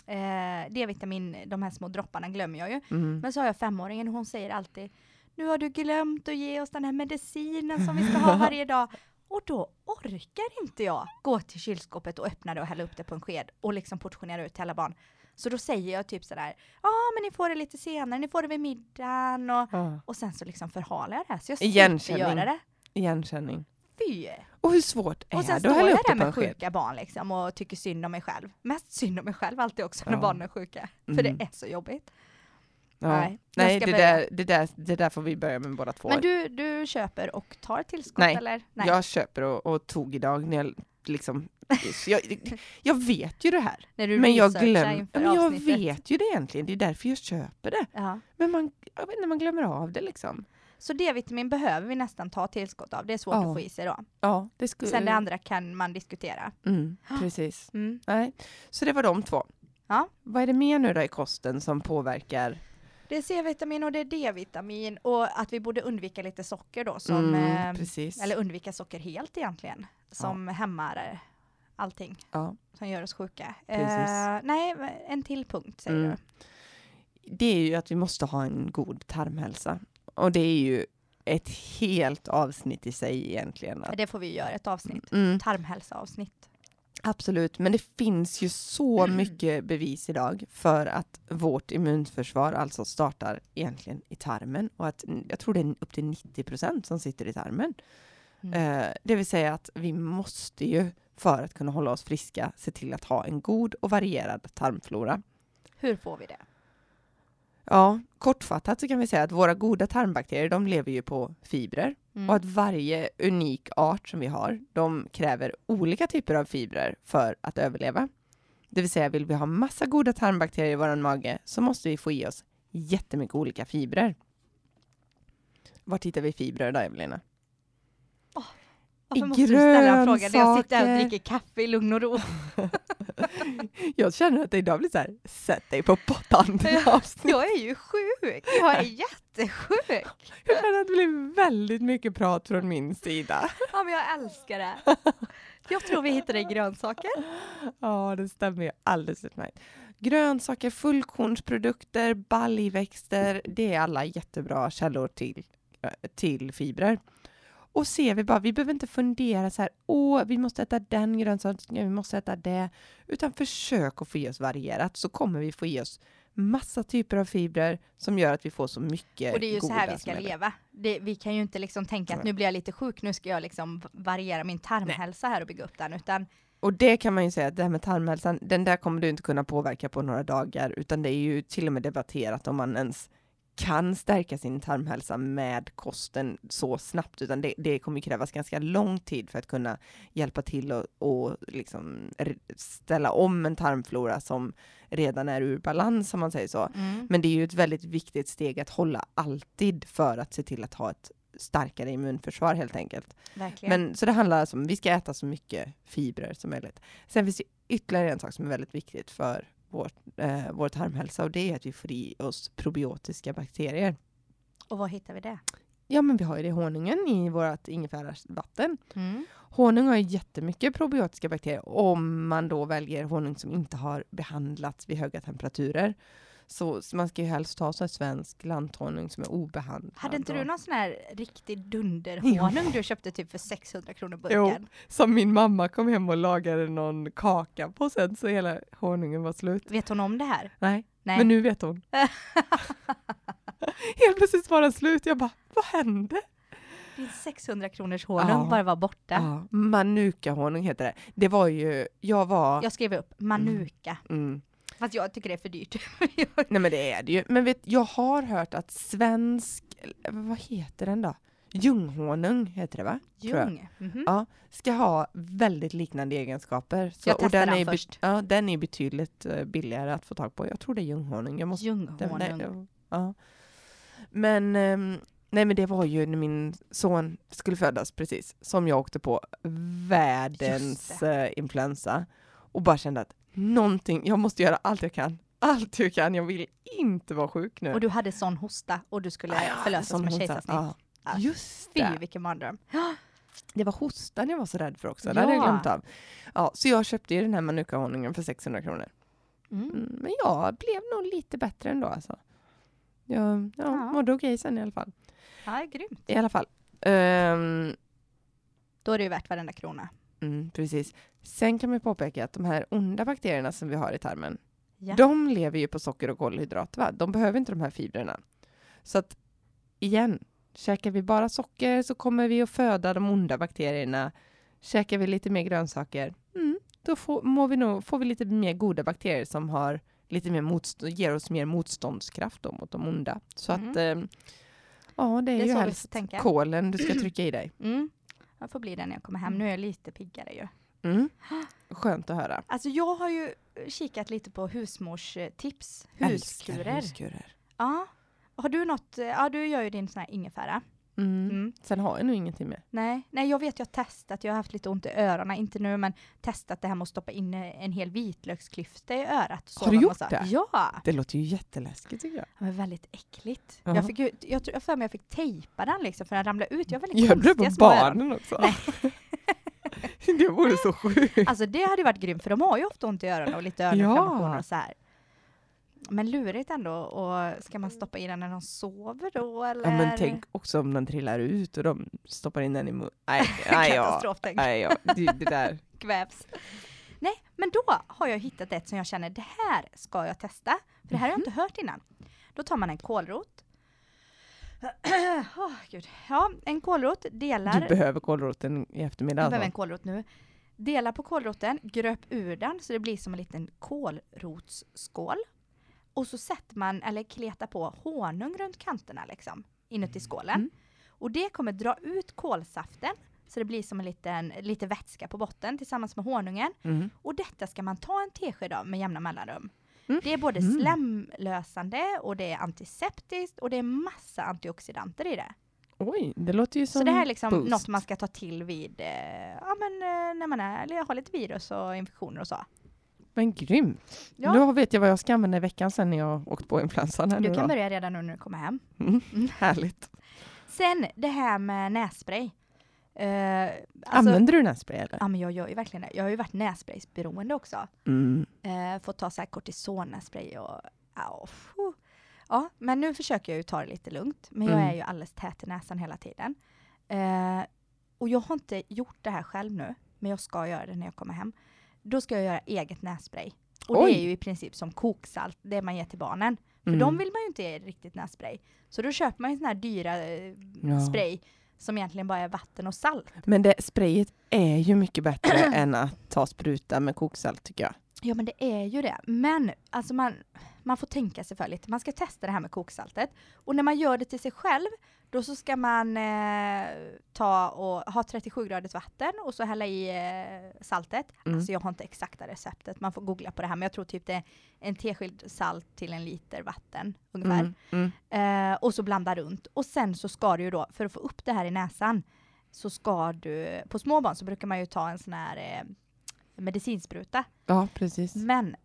Speaker 1: Eh, D-vitamin, de här små dropparna glömmer jag ju.
Speaker 2: mm.
Speaker 1: Men så har jag femåringen och hon säger alltid Nu har du glömt att ge oss den här medicinen som vi ska ha varje dag. Och då orkar inte jag gå till kylskåpet och öppna det och hälla upp det på en sked och liksom portionera ut till alla barn. Så då säger jag typ sådär, ja men ni får det lite senare, ni får det vid middagen och,
Speaker 2: Ja,
Speaker 1: och sen så liksom förhalar jag det här så jag slipper
Speaker 2: Igenkänning.
Speaker 1: göra det.
Speaker 2: igenkänning.
Speaker 1: Fy!
Speaker 2: Och hur svårt är
Speaker 1: Och sen
Speaker 2: det
Speaker 1: står
Speaker 2: att hälla
Speaker 1: jag
Speaker 2: upp
Speaker 1: där
Speaker 2: det på en
Speaker 1: med
Speaker 2: sked?
Speaker 1: sjuka barn liksom och tycker synd om mig själv. Mest synd om mig själv alltid också när
Speaker 2: Ja.
Speaker 1: barnen är sjuka. För
Speaker 2: Mm.
Speaker 1: det är så jobbigt.
Speaker 2: Ja.
Speaker 1: Nej,
Speaker 2: Nej,
Speaker 1: jag ska
Speaker 2: det,
Speaker 1: börja.
Speaker 2: där, det, där, det där får vi börja med båda två.
Speaker 1: Men du, du köper och tar tillskott
Speaker 2: Nej.
Speaker 1: eller?
Speaker 2: Jag köper och, och tog idag när jag liksom... jag, jag vet ju det här,
Speaker 1: När du
Speaker 2: men jag
Speaker 1: researchar
Speaker 2: glömmer...
Speaker 1: inför
Speaker 2: Ja, men jag
Speaker 1: avsnittet.
Speaker 2: vet ju det egentligen, det är därför jag köper det.
Speaker 1: Ja.
Speaker 2: Men man, jag vet inte, man glömmer av det liksom.
Speaker 1: Så D-vitamin behöver vi nästan ta tillskott av. Det är svårt
Speaker 2: Ja.
Speaker 1: att få i sig då.
Speaker 2: Ja, det skulle...
Speaker 1: Sen det andra kan man diskutera.
Speaker 2: Mm, precis.
Speaker 1: Mm.
Speaker 2: Nej. Så det var de två.
Speaker 1: Ja.
Speaker 2: Vad är det mer nu då i kosten som påverkar?
Speaker 1: Det är C-vitamin och det är D-vitamin och att vi borde undvika lite socker då som,
Speaker 2: Mm,
Speaker 1: eh,
Speaker 2: precis.
Speaker 1: eller undvika socker helt egentligen, som hämmar eh, allting
Speaker 2: Ja.
Speaker 1: som gör oss sjuka.
Speaker 2: Precis.
Speaker 1: Eh, nej, en till punkt säger
Speaker 2: Mm.
Speaker 1: du.
Speaker 2: det är ju att vi måste ha en god tarmhälsa. Och det är ju ett helt avsnitt i sig egentligen. Att,
Speaker 1: Det får vi göra ett avsnitt,
Speaker 2: mm,
Speaker 1: tarmhälsoavsnitt.
Speaker 2: absolut, men det finns ju så mycket bevis idag för att vårt immunförsvar alltså startar egentligen i tarmen och att mm, jag tror det är upp till 90 procent som sitter i tarmen.
Speaker 1: Mm.
Speaker 2: Eh, det vill säga att vi måste ju för att kunna hålla oss friska se till att ha en god och varierad tarmflora.
Speaker 1: Hur får vi det?
Speaker 2: Ja, kortfattat så kan vi säga att våra goda tarmbakterier, de lever ju på fibrer
Speaker 1: Mm.
Speaker 2: och att varje unik art som vi har, de kräver olika typer av fibrer för att överleva. Det vill säga, vill vi ha massa goda tarmbakterier i vår mage så måste vi få i oss jättemycket olika fibrer. Var hittar vi fibrer då, Evelina?
Speaker 1: Varför
Speaker 2: i
Speaker 1: måste du ställa en fråga när jag sitter här och
Speaker 2: grönsaker.
Speaker 1: dricker kaffe i lugn och ro?
Speaker 2: Jag känner att det idag blir så här, sätt dig på pottan.
Speaker 1: Jag är ju sjuk, jag är jättesjuk.
Speaker 2: Jag känner att det blir väldigt mycket prat från min sida.
Speaker 1: Ja men jag älskar det. Jag tror vi hittade grönsaker.
Speaker 2: Ja, det stämmer ju alldeles utmärkt. Grönsaker, fullkornsprodukter, baljväxter, det är alla jättebra källor till, eh, till fibrer. Och ser vi bara, vi behöver inte fundera så här, åh, vi måste äta den grönsaken, vi måste äta det, utan försök att få i oss varierat så kommer vi få i oss massa typer av fibrer som gör att vi får så mycket
Speaker 1: Och det är ju så
Speaker 2: goda
Speaker 1: här vi ska
Speaker 2: som är bra.
Speaker 1: leva. Det, vi kan ju inte liksom tänka att nu blir jag lite sjuk, nu ska jag liksom variera min tarmhälsa här och bygga upp den, utan
Speaker 2: Och det kan man ju säga, att det här med tarmhälsan, den där kommer du inte kunna påverka på några dagar, utan det är ju till och med debatterat om man ens kan stärka sin tarmhälsa med kosten så snabbt, utan det, det kommer ju krävas ganska lång tid för att kunna hjälpa till och, och liksom re- ställa om en tarmflora som redan är ur balans, om man säger så.
Speaker 1: mm.
Speaker 2: Men det är ju ett väldigt viktigt steg att hålla alltid för att se till att ha ett starkare immunförsvar helt enkelt.
Speaker 1: verkligen.
Speaker 2: Men, så det handlar alltså om vi ska äta så mycket fibrer som möjligt. Sen finns det ytterligare en sak som är väldigt viktigt för vår, eh, vår tarmhälsa och det är att vi får i oss probiotiska bakterier.
Speaker 1: och var hittar vi det?
Speaker 2: Ja, men vi har ju det i honungen i vårt ingefärsvatten.
Speaker 1: Mm.
Speaker 2: Honung har ju jättemycket probiotiska bakterier om man då väljer honung som inte har behandlats vid höga temperaturer. Så, så man ska ju helst ta så här svensk lanthonung som är obehandlad.
Speaker 1: Hade inte
Speaker 2: och-
Speaker 1: du någon sån här riktig dunderhonung du köpte typ för 600 kronor burken?
Speaker 2: Som min mamma kom hem och lagade någon kaka på sen så hela honungen var slut.
Speaker 1: Vet hon om det här?
Speaker 2: Nej,
Speaker 1: Nej.
Speaker 2: men nu vet hon. Helt plötsligt var den slut. Jag bara, vad hände?
Speaker 1: Din 600 kronors honung
Speaker 2: Ja.
Speaker 1: bara var borta.
Speaker 2: Ja, Manuka-honung heter det. Det var ju, jag var,
Speaker 1: Jag skrev upp manuka,
Speaker 2: mm.
Speaker 1: fast jag tycker det är för dyrt.
Speaker 2: nej men det är det ju. Men vet, jag har hört att svensk, eller vad heter den då? Ljunghonung heter det va? Tror jag.
Speaker 1: Ljung. Mhm.
Speaker 2: Ja, ska ha väldigt liknande egenskaper. Så,
Speaker 1: Jag testar
Speaker 2: den
Speaker 1: den
Speaker 2: är be-
Speaker 1: först.
Speaker 2: Ja, den är betydligt eh, billigare att få tag på. Jag tror det är ljunghonung. Jag måste Den,
Speaker 1: Ljunghonung.
Speaker 2: nej, ja. Men, ehm, nej men det var ju när min son skulle födas precis, som jag åkte på världens
Speaker 1: Just det.
Speaker 2: eh, influensa. Och bara kände att någonting, jag måste göra allt jag kan. Allt jag kan, jag vill inte vara sjuk nu.
Speaker 1: Och du hade sån hosta och du skulle
Speaker 2: Ah, ja,
Speaker 1: förlösas
Speaker 2: som
Speaker 1: med
Speaker 2: hon sa.
Speaker 1: kejsarsnitt.
Speaker 2: Ja.
Speaker 1: Ja.
Speaker 2: Just det.
Speaker 1: Fy vilken mardröm.
Speaker 2: Det var hostan jag var så rädd för också, det hade
Speaker 1: Ja.
Speaker 2: jag glömt av. Ja, så jag köpte ju den här manuka-honungen för 600 kronor.
Speaker 1: Mm.
Speaker 2: Mm, men jag blev nog lite bättre ändå alltså. Jag ja,
Speaker 1: Ja.
Speaker 2: mådde okej sen i alla fall.
Speaker 1: Ja, grymt.
Speaker 2: I alla fall. Ehm,
Speaker 1: Då är det ju värt varenda krona.
Speaker 2: mm, precis. Sen kan man ju påpeka att de här onda bakterierna som vi har i tarmen,
Speaker 1: Ja.
Speaker 2: de lever ju på socker och kolhydrater. Va? De behöver inte de här fibrerna. Så att igen, käkar vi bara socker så kommer vi att föda de onda bakterierna. Käkar vi lite mer grönsaker, mm, då får, mår vi nog, får vi lite mer goda bakterier som har lite mer motstå- ger oss mer motståndskraft då mot de onda. Så
Speaker 1: Mm.
Speaker 2: att, ehm, ja det är,
Speaker 1: Det är
Speaker 2: ju
Speaker 1: så vi får
Speaker 2: helst
Speaker 1: tänka.
Speaker 2: kolen du ska trycka i dig.
Speaker 1: Mm. Jag får bli det när jag kommer hem. Nu är jag lite piggare ju.
Speaker 2: Mm. Skönt att höra.
Speaker 1: Alltså jag har ju kikat lite på husmorstips.
Speaker 2: Älskar
Speaker 1: Huskurer.
Speaker 2: huskurer.
Speaker 1: Ja. Har du något? eh, Ja, du gör ju din sån här ingefära.
Speaker 2: Mm.
Speaker 1: Mm.
Speaker 2: Sen har jag nog ingenting mer.
Speaker 1: Nej, nej, jag vet jag har testat. Jag har haft lite ont i öronen, inte nu, men testat det här med att stoppa in eh, en hel vitlöksklyfta i örat. och
Speaker 2: Har du
Speaker 1: sova
Speaker 2: gjort
Speaker 1: massa-
Speaker 2: det?
Speaker 1: Ja.
Speaker 2: Det låter ju jätteläskigt tycker jag.
Speaker 1: Det var väldigt äckligt.
Speaker 2: Ja.
Speaker 1: Jag fick ju, jag tror jag för mig jag fick tejpa den liksom för den ramlade ut. Jag har väldigt
Speaker 2: Gör du det
Speaker 1: konstiga
Speaker 2: på
Speaker 1: små öron.
Speaker 2: barnen också?
Speaker 1: Nej.
Speaker 2: det vore så sjukt.
Speaker 1: Alltså det hade ju varit grymt för de har ju ofta ont i öronen och lite öroninflammationer
Speaker 2: Ja.
Speaker 1: och så här. Men lurigt ändå. Och ska man stoppa i den när de sover då eller?
Speaker 2: Ja, men tänk också om den trillar ut och de stoppar in den i munnen. Nej, nej, ja.
Speaker 1: Katastrof, tänk.
Speaker 2: nej ja. Det, det där.
Speaker 1: Kvävs. Nej, men då har jag hittat ett som jag känner, det här ska jag testa. För det här har
Speaker 2: Mhm.
Speaker 1: jag inte hört innan. Då tar man en kålrot. Åh, Gud. Ja, en kålrot delar...
Speaker 2: Du behöver kålroten i eftermiddag.
Speaker 1: Jag behöver en
Speaker 2: Alltså.
Speaker 1: kålrot nu. Dela på kålroten, gröp ur den så det blir som en liten kålrotsskål. Och så sätter man, eller kletar på honung runt kanterna liksom, inuti skålen.
Speaker 2: Mm.
Speaker 1: Och det kommer dra ut kålsaften så det blir som en liten, lite vätska på botten tillsammans med honungen.
Speaker 2: Mm.
Speaker 1: Och detta ska man ta en tesked av med jämna mellanrum.
Speaker 2: Mm.
Speaker 1: Det är både
Speaker 2: Mm.
Speaker 1: slemlösande och det är antiseptiskt och det är massa antioxidanter i det.
Speaker 2: Oj, det låter ju som
Speaker 1: Så det här är liksom
Speaker 2: boost.
Speaker 1: något man ska ta till vid, eh, ja men eh, när man är, eller har lite virus och infektioner och så.
Speaker 2: Men grymt.
Speaker 1: Ja.
Speaker 2: Nu vet jag vad jag ska använda i veckan sen när jag åkt på influensan. Här nu
Speaker 1: Du
Speaker 2: då.
Speaker 1: kan börja redan nu när du kommer hem.
Speaker 2: Mm. Härligt.
Speaker 1: Sen det här med nässpray. Eh, alltså,
Speaker 2: Använder du nässpray eller?
Speaker 1: ja men jag gör ju verkligen det. Jag har ju varit nässpraysberoende också.
Speaker 2: Mm.
Speaker 1: Eh, fått ta så här kortisonnässpray och, ja, och phew. ja men nu försöker jag ju ta det lite lugnt. Men jag
Speaker 2: Mm.
Speaker 1: är ju alldeles tät i näsan hela tiden. Eh, och jag har inte gjort det här själv nu, men jag ska göra det när jag kommer hem. Då ska jag göra eget nässpray. Och
Speaker 2: Oj.
Speaker 1: det är ju i princip som koksalt, det man ger till barnen. För
Speaker 2: Mm.
Speaker 1: de vill man ju inte ge riktigt nässpray. Så då köper man ju sån här dyra eh,
Speaker 2: Ja.
Speaker 1: spray som egentligen bara är vatten och salt.
Speaker 2: Men det, sprayet är ju mycket bättre än att ta spruta med koksalt tycker jag.
Speaker 1: Ja men det är ju det. Men alltså man, man får tänka sig för lite. Man ska testa det här med koksaltet. Och när man gör det till sig själv, då så ska man eh, ta och ha 37 graders vatten och så hälla i eh, saltet.
Speaker 2: Mm.
Speaker 1: Alltså jag har inte exakta receptet, man får googla på det här. Men jag tror typ det är en tesked salt till en liter vatten ungefär.
Speaker 2: Mm, mm.
Speaker 1: Eh, och så blanda runt. Och sen så ska du ju då, för att få upp det här i näsan, så ska du, på små barn så brukar man ju ta en sån här eh, medicinspruta.
Speaker 2: Ja, precis.
Speaker 1: Men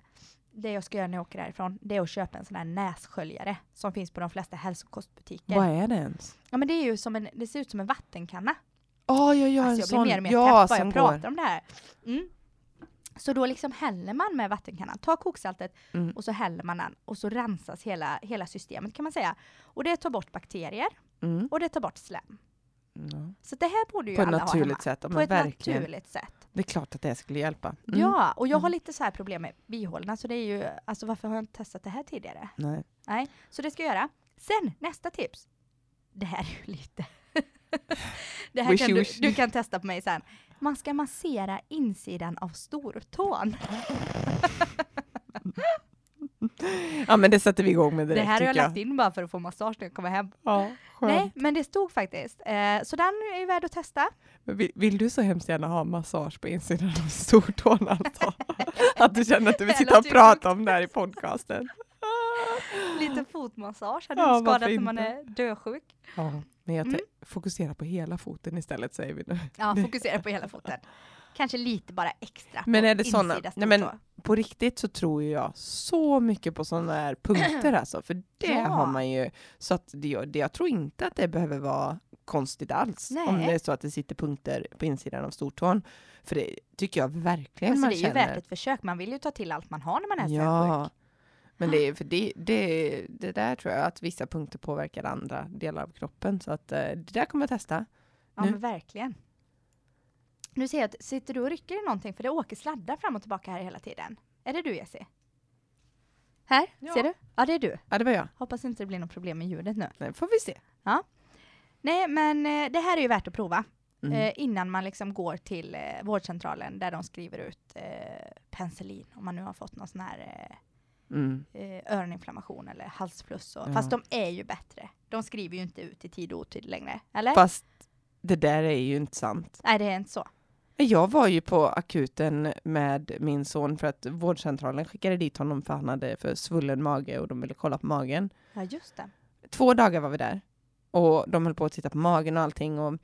Speaker 1: det jag ska göra när jag åker härifrån, det är att köpa en sån här nässköljare som finns på de flesta
Speaker 2: Vad
Speaker 1: hälsokostbutiker.
Speaker 2: är det ens?
Speaker 1: Ja men det är ju som en, det ser ut som en vattenkanna.
Speaker 2: Ja, jag gör
Speaker 1: Alltså
Speaker 2: en
Speaker 1: jag blir
Speaker 2: sån.
Speaker 1: mer och mer
Speaker 2: ja,
Speaker 1: pepp bara
Speaker 2: som
Speaker 1: jag
Speaker 2: går.
Speaker 1: pratar om det här. Mm. Så då liksom häller man med vattenkannan, tar koksaltet
Speaker 2: Mm.
Speaker 1: och så häller man den och så rensas hela, hela systemet kan man säga. Och det tar bort bakterier
Speaker 2: Mm.
Speaker 1: och det tar bort slem.
Speaker 2: Ja.
Speaker 1: Så det här borde ju
Speaker 2: Mm. På ett
Speaker 1: alla ha hemma.
Speaker 2: naturligt sätt. Ja,
Speaker 1: På
Speaker 2: men
Speaker 1: ett
Speaker 2: verkligen.
Speaker 1: naturligt sätt.
Speaker 2: Det är klart att det skulle hjälpa. Mm.
Speaker 1: Ja, och jag har
Speaker 2: Mm.
Speaker 1: lite så här problem med bihålorna så det är ju, alltså varför har jag inte testat det här tidigare?
Speaker 2: Nej.
Speaker 1: Nej, så det ska jag göra. Sen nästa tips. Det här är ju lite... det här
Speaker 2: Wish
Speaker 1: kan
Speaker 2: you
Speaker 1: du,
Speaker 2: wish.
Speaker 1: du kan testa på mig sen. Man ska massera insidan av stortån.
Speaker 2: Ja, men det sätter vi igång med direkt
Speaker 1: det här har jag
Speaker 2: tycker
Speaker 1: lagt in bara för att få massage när jag kommer hem.
Speaker 2: Ja, skönt.
Speaker 1: Nej, men det stod faktiskt. Eh, så den är ju värd att testa.
Speaker 2: Men Vill, vill du så hemskt gärna ha massage på insidan av stortån alltså? att du känner att du vill sitta och
Speaker 1: Jävlar, typ.
Speaker 2: prata om det här i podcasten?
Speaker 1: Lite fotmassage hade
Speaker 2: Ja,
Speaker 1: inte skadat
Speaker 2: varför
Speaker 1: när man
Speaker 2: inte?
Speaker 1: är dösjuk.
Speaker 2: Ja, men jag te-
Speaker 1: Mm.
Speaker 2: fokuserar på hela foten istället säger vi nu.
Speaker 1: Ja, fokusera på hela foten. Kanske lite bara extra
Speaker 2: Men
Speaker 1: på
Speaker 2: är det såna-
Speaker 1: insida
Speaker 2: nej, men-
Speaker 1: stortå.
Speaker 2: På riktigt så tror ju jag så mycket på sådana här punkter alltså, för det
Speaker 1: Ja.
Speaker 2: har man ju. Så att det, jag- det, jag tror inte att det behöver vara konstigt alls om
Speaker 1: Nej.
Speaker 2: det är så att det sitter punkter på insidan av stortån. För det tycker jag verkligen
Speaker 1: Alltså,
Speaker 2: man
Speaker 1: det är ju
Speaker 2: känner.
Speaker 1: värt ett försök. Man vill ju ta till allt man har när man är så
Speaker 2: Ja, men det, är- för det, det, det där tror jag att vissa punkter påverkar andra delar av kroppen. Så att eh, det där kommer jag testa.
Speaker 1: Ja
Speaker 2: Nu.
Speaker 1: men verkligen. Nu ser jag att, sitter du och rycker i någonting? För det åker sladdar fram och tillbaka här hela tiden. Är det du Jessie? Här,
Speaker 2: Ja.
Speaker 1: ser du? Ja det är du.
Speaker 2: Ja, det var jag.
Speaker 1: Hoppas inte det blir något problem med ljudet nu.
Speaker 2: Nej, får vi se.
Speaker 1: Nej men eh, det här är ju värt att prova.
Speaker 2: Mm.
Speaker 1: Eh, innan man liksom går till eh, vårdcentralen där de skriver ut eh, penicillin. Om man nu har fått någon sån här
Speaker 2: Mm.
Speaker 1: eh, eh, öroninflammation eller halsfluss. Och,
Speaker 2: Ja.
Speaker 1: Fast de är ju bättre. De skriver ju inte ut i tid och otid längre. Eller?
Speaker 2: Fast det där är ju inte sant.
Speaker 1: Nej det är inte så.
Speaker 2: Jag var ju på akuten med min son för att vårdcentralen skickade dit honom för han hade för svullen mage och de ville kolla på magen.
Speaker 1: Ja just det.
Speaker 2: Två dagar var vi där och de höll på att titta på magen och allting och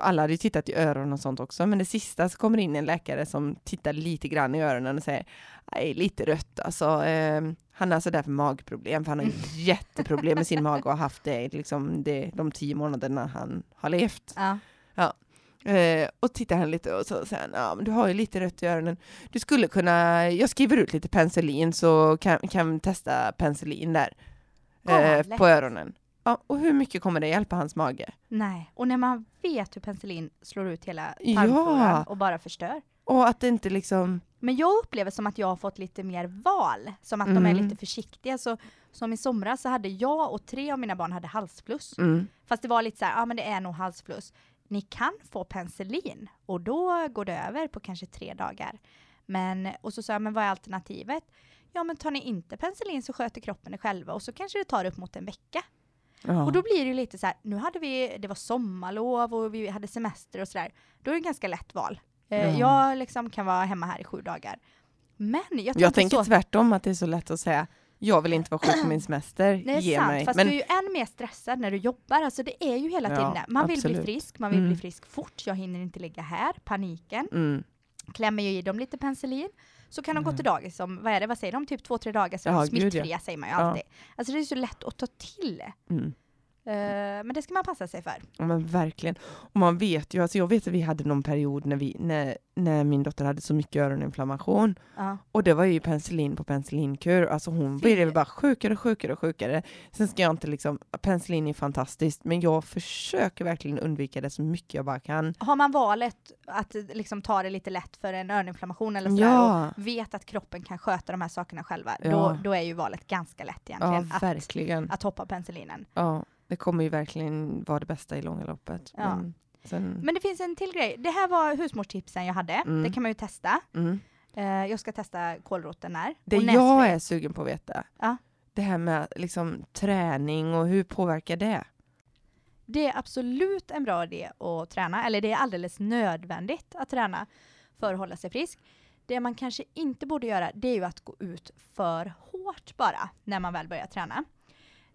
Speaker 2: alla hade ju tittat i öron och sånt också, men det sista så kommer in en läkare som tittar lite grann i öronen och säger nej, lite rött alltså. Eh, han har alltså därför magproblem, för han har ju jätteproblem med sin mage och har haft det liksom det, de tio månaderna han har levt.
Speaker 1: Ja.
Speaker 2: Eh, och tittar han lite och så säger han, ja men du har ju lite rött i öronen. Du skulle kunna, jag skriver ut lite penicillin så kan, kan vi testa penicillin där. Eh,
Speaker 1: Galet.
Speaker 2: på öronen. Ja, och hur mycket kommer det hjälpa hans mage?
Speaker 1: Nej, och när man vet hur penicillin slår ut hela
Speaker 2: Ja.
Speaker 1: tarmfloran och bara förstör.
Speaker 2: Och att det inte liksom,
Speaker 1: Men jag upplever som att jag har fått lite mer val, som att de är
Speaker 2: Mm.
Speaker 1: lite försiktiga. Så, som i somras så hade jag och tre av mina barn hade halsfluss.
Speaker 2: mm,
Speaker 1: Fast det var lite så här, ja ah, men det är nog halsfluss. Ni kan få penicillin och då går det över på kanske tre dagar. Men, och så sa jag, men vad är alternativet? Ja men tar ni inte penicillin så sköter kroppen det själva och så kanske det tar upp mot en vecka.
Speaker 2: ja.
Speaker 1: Och då blir det ju lite så här, nu hade vi, det var sommarlov och vi hade semester och sådär. Då är det ett ganska lätt val. Eh,
Speaker 2: Ja.
Speaker 1: Jag liksom kan vara hemma här i sju dagar. Men jag,
Speaker 2: jag
Speaker 1: tänker
Speaker 2: tänker
Speaker 1: så.
Speaker 2: tvärtom att det är så lätt att säga, jag vill inte vara sjuk på min semester,
Speaker 1: Det är
Speaker 2: ge
Speaker 1: sant,
Speaker 2: mig.
Speaker 1: fast
Speaker 2: Men
Speaker 1: du är ju än mer stressad när du jobbar. Alltså det är ju hela
Speaker 2: Ja,
Speaker 1: tiden det. Man vill
Speaker 2: absolut.
Speaker 1: bli frisk, man vill bli
Speaker 2: Mm.
Speaker 1: frisk fort. Jag hinner inte ligga här, paniken.
Speaker 2: mm,
Speaker 1: Klämmer ju i dem lite penicillin. Så kan de gå
Speaker 2: Ja.
Speaker 1: till dagis om, vad är det, vad säger de, typ två, tre dagar så är
Speaker 2: Mm. Ja,
Speaker 1: de
Speaker 2: gud, ja.
Speaker 1: smittfria säger man ju
Speaker 2: Ja.
Speaker 1: alltid. Alltså det är så lätt att ta till.
Speaker 2: mm.
Speaker 1: Eh, men det ska man passa sig för.
Speaker 2: Ja, men verkligen. Och man vet ju, alltså jag vet att vi hade någon period när, vi, när, när min dotter hade så mycket öroninflammation
Speaker 1: Ja.
Speaker 2: och det var ju penicillin på penicillinkur. Alltså hon
Speaker 1: Fy.
Speaker 2: blev bara sjukare och sjukare och sjukare. Sen ska jag inte liksom, penicillin är fantastiskt men jag försöker verkligen undvika det så mycket jag bara kan.
Speaker 1: Har man valet att liksom ta det lite lätt för en öroninflammation eller sådär och
Speaker 2: Ja,
Speaker 1: vet att kroppen kan sköta de här sakerna själva, då,
Speaker 2: Ja.
Speaker 1: då är ju valet ganska lätt
Speaker 2: ja
Speaker 1: egentligen. att,
Speaker 2: verkligen.
Speaker 1: att hoppa penicillinen.
Speaker 2: Ja, det kommer ju verkligen vara det bästa i långa loppet.
Speaker 1: Ja.
Speaker 2: Men sen,
Speaker 1: Men det finns en till grej. Det här var husmorstipsen jag hade.
Speaker 2: Mm.
Speaker 1: Det kan man ju testa.
Speaker 2: mm.
Speaker 1: Eh, jag ska testa kålroten här.
Speaker 2: Det
Speaker 1: Och
Speaker 2: jag
Speaker 1: nässpray.
Speaker 2: är sugen på att veta,
Speaker 1: Ja.
Speaker 2: det här med liksom träning och hur påverkar det?
Speaker 1: Det är absolut en bra idé att träna, eller det är alldeles nödvändigt att träna för att hålla sig frisk. Det man kanske inte borde göra, det är ju att gå ut för hårt bara, när man väl börjar träna.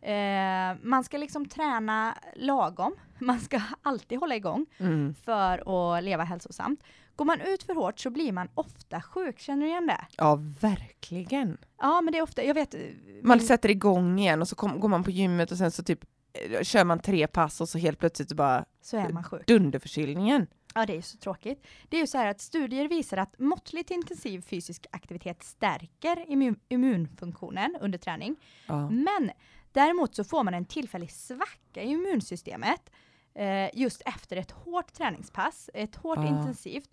Speaker 1: Eh, man ska liksom träna lagom, man ska alltid hålla igång
Speaker 2: Mm.
Speaker 1: för att leva hälsosamt. Går man ut för hårt så blir man ofta sjuk, känner du igen det?
Speaker 2: Ja, verkligen.
Speaker 1: Ja, men det är ofta, jag vet... eh,
Speaker 2: Man
Speaker 1: min-
Speaker 2: sätter igång igen och så kom, går man på gymmet och sen så typ eh, kör man tre pass och så helt plötsligt så bara
Speaker 1: så är man sjuk.
Speaker 2: dunderförkylningen.
Speaker 1: Ja, det är ju så tråkigt. Det är ju så här att studier visar att måttligt intensiv fysisk aktivitet stärker immun immunfunktionen under träning.
Speaker 2: Ja.
Speaker 1: Men däremot så får man en tillfällig svacka i immunsystemet eh, just efter ett hårt träningspass, ett hårt
Speaker 2: Ja.
Speaker 1: intensivt,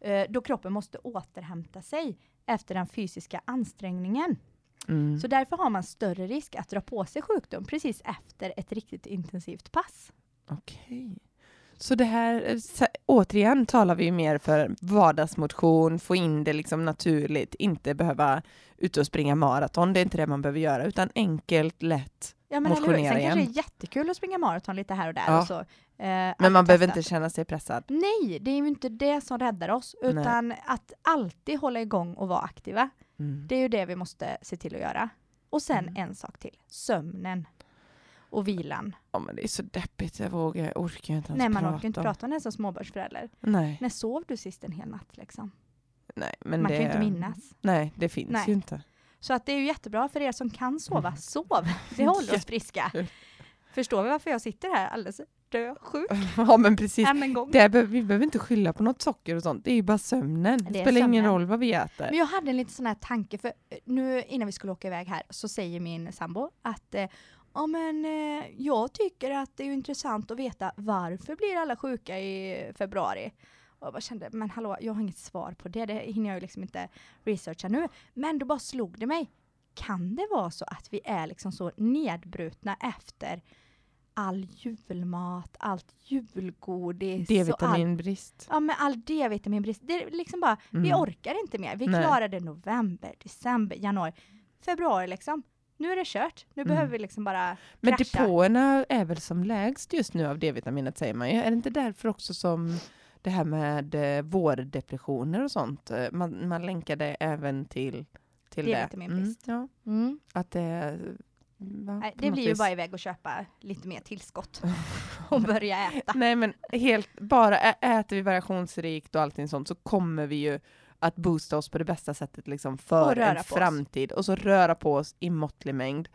Speaker 1: eh, då kroppen måste återhämta sig efter den fysiska ansträngningen.
Speaker 2: Mm.
Speaker 1: Så därför har man större risk att dra på sig sjukdom precis efter ett riktigt intensivt pass.
Speaker 2: Okej. Så det här, eh, sa- återigen talar vi ju mer för vardagsmotion, få in det liksom naturligt, inte behöva ut och springa maraton, det är inte det man behöver göra, utan enkelt, lätt.
Speaker 1: Ja, men eller hur? Sen
Speaker 2: Motionera
Speaker 1: kanske det
Speaker 2: igen.
Speaker 1: är jättekul att springa maraton lite här och där.
Speaker 2: Ja.
Speaker 1: Och så, eh, att
Speaker 2: Men man behöver
Speaker 1: testa.
Speaker 2: inte känna sig pressad.
Speaker 1: Nej, det är ju inte det som räddar oss,
Speaker 2: Nej.
Speaker 1: utan att alltid hålla igång och vara aktiva.
Speaker 2: Mm.
Speaker 1: Det är ju det vi måste se till att göra. Och sen
Speaker 2: Mm.
Speaker 1: en sak till, sömnen och vilan.
Speaker 2: Ja, men det är så deppigt, jag vågar, jag orkar ju inte ens
Speaker 1: Nej, man
Speaker 2: prata.
Speaker 1: orkar ju inte
Speaker 2: om-
Speaker 1: prata om det som småbarnsförälder.
Speaker 2: Nej,
Speaker 1: När sov du sist en hel natt liksom?
Speaker 2: nej, men
Speaker 1: man
Speaker 2: det,
Speaker 1: kan ju inte minnas.
Speaker 2: Nej, det finns
Speaker 1: Nej.
Speaker 2: ju inte.
Speaker 1: Så att det är ju jättebra för er som kan
Speaker 2: Mm.
Speaker 1: sova, sov! Det håller oss friska. Förstår vi varför jag sitter här alldeles dösjuk
Speaker 2: ja, men precis.
Speaker 1: än en gång?
Speaker 2: Det här behöver, vi behöver inte skylla på något socker och sånt, det är ju bara sömnen. Det,
Speaker 1: är
Speaker 2: spelar ingen
Speaker 1: sömnen.
Speaker 2: roll vad vi äter.
Speaker 1: Men jag hade en liten sån här tanke, för eh, nu innan vi skulle åka iväg här så säger min sambo att eh, ja men eh, jag tycker att det är ju intressant att veta varför blir alla sjuka i februari? Och jag bara kände, men hallå, jag har inget svar på det, det hinner jag ju liksom inte researcha nu. Men då bara slog det mig, kan det vara så att vi är liksom så nedbrutna efter all julmat, allt julgodis och allt
Speaker 2: D-vitaminbrist.
Speaker 1: Ja men all D-vitaminbrist, det är liksom bara, vi
Speaker 2: Mm.
Speaker 1: orkar inte mer. Vi
Speaker 2: Nej.
Speaker 1: klarade november, december, januari, februari liksom. Nu är det kört, nu
Speaker 2: Mm.
Speaker 1: behöver vi liksom bara
Speaker 2: Men
Speaker 1: kraschar.
Speaker 2: depåerna är väl som lägst just nu av D-vitaminet säger man ju. Är det inte därför också som det här med eh, vårdepressioner och sånt, eh, man, man länkar det även till, till det.
Speaker 1: D-vitaminbrist.
Speaker 2: Mm, ja, att det... va,
Speaker 1: Nej,
Speaker 2: på
Speaker 1: det
Speaker 2: något
Speaker 1: blir ju
Speaker 2: vis.
Speaker 1: bara iväg och köpa lite mer tillskott och börja äta.
Speaker 2: Nej men helt, bara ä- äter vi variationsrikt och allting sånt så kommer vi ju att boosta oss på det bästa sättet liksom
Speaker 1: Och
Speaker 2: för
Speaker 1: röra
Speaker 2: en
Speaker 1: på oss.
Speaker 2: framtid. Och så röra på oss i måttlig mängd.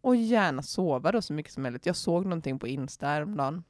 Speaker 2: Och gärna sova då så mycket som möjligt. Jag såg någonting på Insta häromdagen.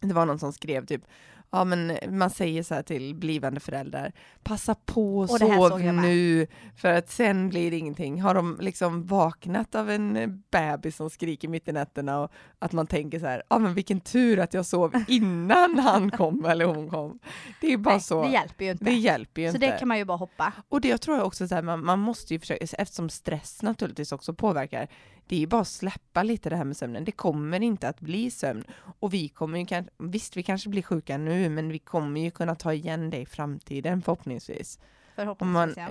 Speaker 2: Det var någon som skrev typ, ja men man säger så här till blivande föräldrar, passa på och
Speaker 1: Och det här
Speaker 2: sov
Speaker 1: såg jag med.
Speaker 2: nu för att sen blir det ingenting. Har de liksom vaknat av en eh, bebis som skriker mitt i nätterna och att man tänker så här, ja ah, men vilken tur att jag sov innan han kom eller hon kom. Det är ju bara
Speaker 1: Nej,
Speaker 2: så,
Speaker 1: Det
Speaker 2: det,
Speaker 1: hjälper ju inte.
Speaker 2: hjälper ju
Speaker 1: så
Speaker 2: inte.
Speaker 1: det kan man ju bara hoppa.
Speaker 2: Och det jag tror jag också så här, man, man måste ju försöka, eftersom stress naturligtvis också påverkar, det är ju bara att släppa lite det här med sömnen. Det kommer inte att bli sömn. Och vi kommer ju kanske, visst vi kanske blir sjuka nu, men vi kommer ju kunna ta igen det i framtiden förhoppningsvis. Och man,
Speaker 1: Förhoppningsvis. ja.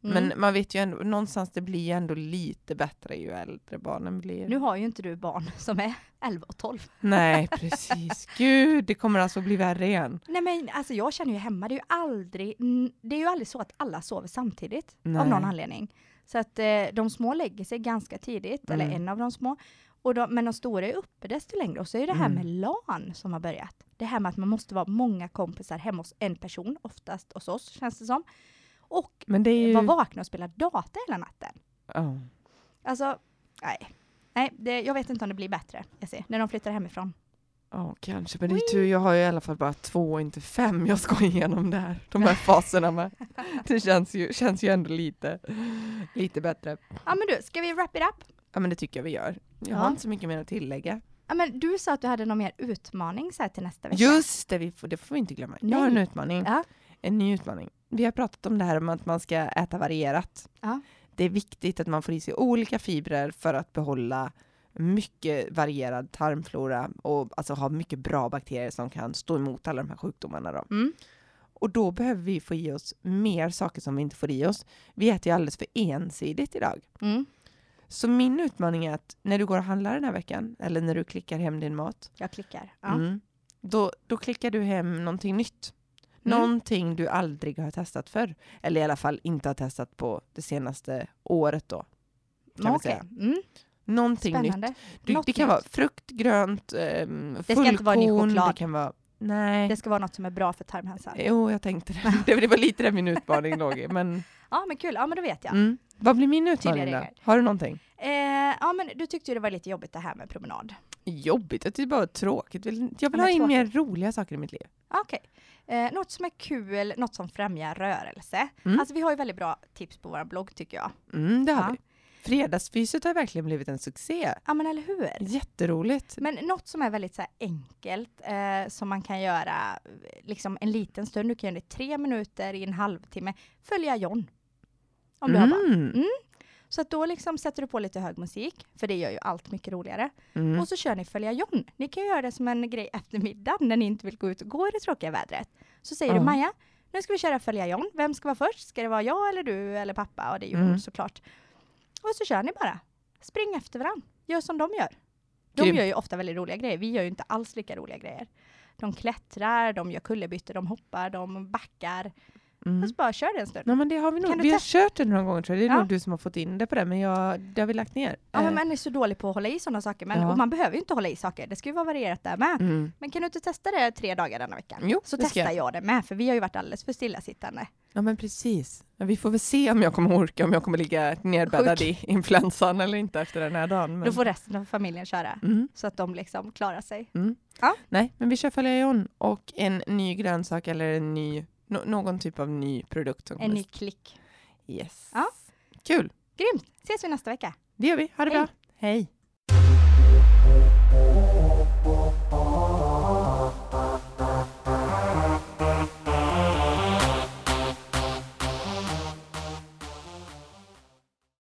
Speaker 2: ja,
Speaker 1: Mm.
Speaker 2: men man vet ju ändå, någonstans det blir ju ändå lite bättre ju äldre barnen blir.
Speaker 1: Nu har ju inte du barn som är 11 och 12.
Speaker 2: Nej, precis. Gud, det kommer alltså bli värre igen.
Speaker 1: Nej men alltså jag känner ju hemma, det är ju aldrig, n- det är ju aldrig så att alla sover samtidigt av
Speaker 2: Nej.
Speaker 1: någon anledning. Så att eh, de små lägger sig ganska tidigt, eller
Speaker 2: Mm.
Speaker 1: en av de små. Och de, men de stora är uppe desto längre. Och så är det här
Speaker 2: Mm.
Speaker 1: med LAN som har börjat. Det här med att man måste vara många kompisar hemma hos en person, oftast hos oss känns det som. Och
Speaker 2: Men det är ju...
Speaker 1: vara vakna och spela data hela natten.
Speaker 2: Ja.
Speaker 1: Alltså, nej. Nej, det, jag vet inte om det blir bättre, jag ser, när de flyttar hemifrån.
Speaker 2: Ja, kanske. Men det är tur, jag har ju i alla fall bara två och inte fem jag ska gå igenom där. De här faserna med. Det känns ju, känns ju ändå lite, lite bättre.
Speaker 1: Ja men du, ska vi wrap it up?
Speaker 2: Ja, men det tycker jag vi gör. Jag
Speaker 1: Ja.
Speaker 2: har inte så mycket mer att tillägga.
Speaker 1: Ja, men du sa att du hade någon mer utmaning så här till nästa vecka.
Speaker 2: Just det, vi får, det får vi inte glömma. Jag har en
Speaker 1: Nej.
Speaker 2: utmaning.
Speaker 1: Ja.
Speaker 2: En ny utmaning. Vi har pratat om det här om att man ska äta varierat.
Speaker 1: Ja.
Speaker 2: Det är viktigt att man får i sig olika fibrer för att behålla mycket varierad tarmflora och alltså ha mycket bra bakterier som kan stå emot alla de här sjukdomarna. Då.
Speaker 1: Mm.
Speaker 2: Och då behöver vi få i oss mer saker som vi inte får i oss. Vi äter ju alldeles för ensidigt idag.
Speaker 1: Mm.
Speaker 2: Så min utmaning är att när du går och handlar den här veckan eller när du klickar hem din mat,
Speaker 1: Jag klickar. Ja.
Speaker 2: mm, då, då klickar du hem någonting nytt.
Speaker 1: Mm.
Speaker 2: Någonting du aldrig har testat förr. Eller i alla fall inte har testat på det senaste året då. Kan vi
Speaker 1: Okej.
Speaker 2: säga.
Speaker 1: Mm.
Speaker 2: Någonting nytt.
Speaker 1: Spännande.
Speaker 2: Du,
Speaker 1: Något
Speaker 2: det kan
Speaker 1: nytt.
Speaker 2: vara frukt, grönt, ehm, fullkorn.
Speaker 1: ska inte vara ny choklad.
Speaker 2: Det kan vara, nej.
Speaker 1: Det ska vara något som är bra för tarmhälsan.
Speaker 2: Jo, jag tänkte det. Det- Det var lite där min utmaning låg i. Men,
Speaker 1: Ja men kul, ja men då vet jag.
Speaker 2: mm. Vad blir min utmaning
Speaker 1: Tydliga
Speaker 2: då?
Speaker 1: regler.
Speaker 2: Har du någonting?
Speaker 1: Eh, ja men du tyckte ju det var lite jobbigt det här med promenad.
Speaker 2: Jobbigt, jag tycker bara det är tråkigt. Vill- Jag vill
Speaker 1: Men
Speaker 2: ha in mer roliga saker i mitt liv.
Speaker 1: Okej. Eh, något som är kul, något som främjar rörelse.
Speaker 2: Mm.
Speaker 1: Alltså vi har ju väldigt bra tips på vår blogg tycker jag.
Speaker 2: Mm, det har
Speaker 1: Ja.
Speaker 2: vi. Fredagsfyset har verkligen blivit en succé.
Speaker 1: Ja men eller hur?
Speaker 2: Jätteroligt.
Speaker 1: Men något som är väldigt så här enkelt eh, som man kan göra eh, liksom en liten stund, du kan göra det i tre minuter, i en halvtimme, följa John. Om du har barn.
Speaker 2: Mm.
Speaker 1: Så att då liksom sätter du på lite hög musik, för det gör ju allt mycket roligare.
Speaker 2: Mm.
Speaker 1: Och så kör ni följa John. Ni kan göra det som en grej eftermiddag när ni inte vill gå ut och gå i det tråkiga vädret. Så säger
Speaker 2: Ja.
Speaker 1: du Maja, nu ska vi köra följa John. Vem ska vara först? Ska det vara jag eller du eller pappa? Och det är ju hon
Speaker 2: Mm.
Speaker 1: såklart. Och så kör ni bara. Spring efter varandra. Gör som de gör. De
Speaker 2: Grymt.
Speaker 1: gör ju ofta väldigt roliga grejer. Vi gör ju inte alls lika roliga grejer. De klättrar, de gör kullerbyttor, de hoppar, de backar.
Speaker 2: Mm.
Speaker 1: Och så bara kör det en stund.
Speaker 2: Nej, men det har vi nog.
Speaker 1: Kan du
Speaker 2: Vi har kört det några gånger tror jag. Det är
Speaker 1: Ja.
Speaker 2: nog du som har fått in det på det, men jag, det har vi lagt ner.
Speaker 1: Ja,
Speaker 2: Eh,
Speaker 1: men man är så dålig på att hålla i sådana saker. Men,
Speaker 2: Ja.
Speaker 1: Och man behöver ju inte hålla i saker. Det ska ju vara varierat där med.
Speaker 2: mm.
Speaker 1: Men kan du inte testa det tre dagar denna veckan?
Speaker 2: Jo,
Speaker 1: så
Speaker 2: det ska
Speaker 1: testar jag. det med, för vi har ju varit alldeles för stillasittande.
Speaker 2: ja, men precis. Ja, Vi får väl se om jag kommer orka, om jag kommer ligga nedbäddad i influensan eller inte efter den här dagen. Men...
Speaker 1: Då får resten av familjen köra,
Speaker 2: Mm.
Speaker 1: så att de liksom klarar sig.
Speaker 2: Nej, men vi kör följa John och en ny grönsak eller en ny, nå- någon typ av ny produkt. Som
Speaker 1: En
Speaker 2: kommer-
Speaker 1: ny klick.
Speaker 2: Yes.
Speaker 1: Ja.
Speaker 2: Kul,
Speaker 1: Grymt! Ses vi nästa vecka.
Speaker 2: det gör vi. Ha det
Speaker 1: Hej.
Speaker 2: bra. Hej.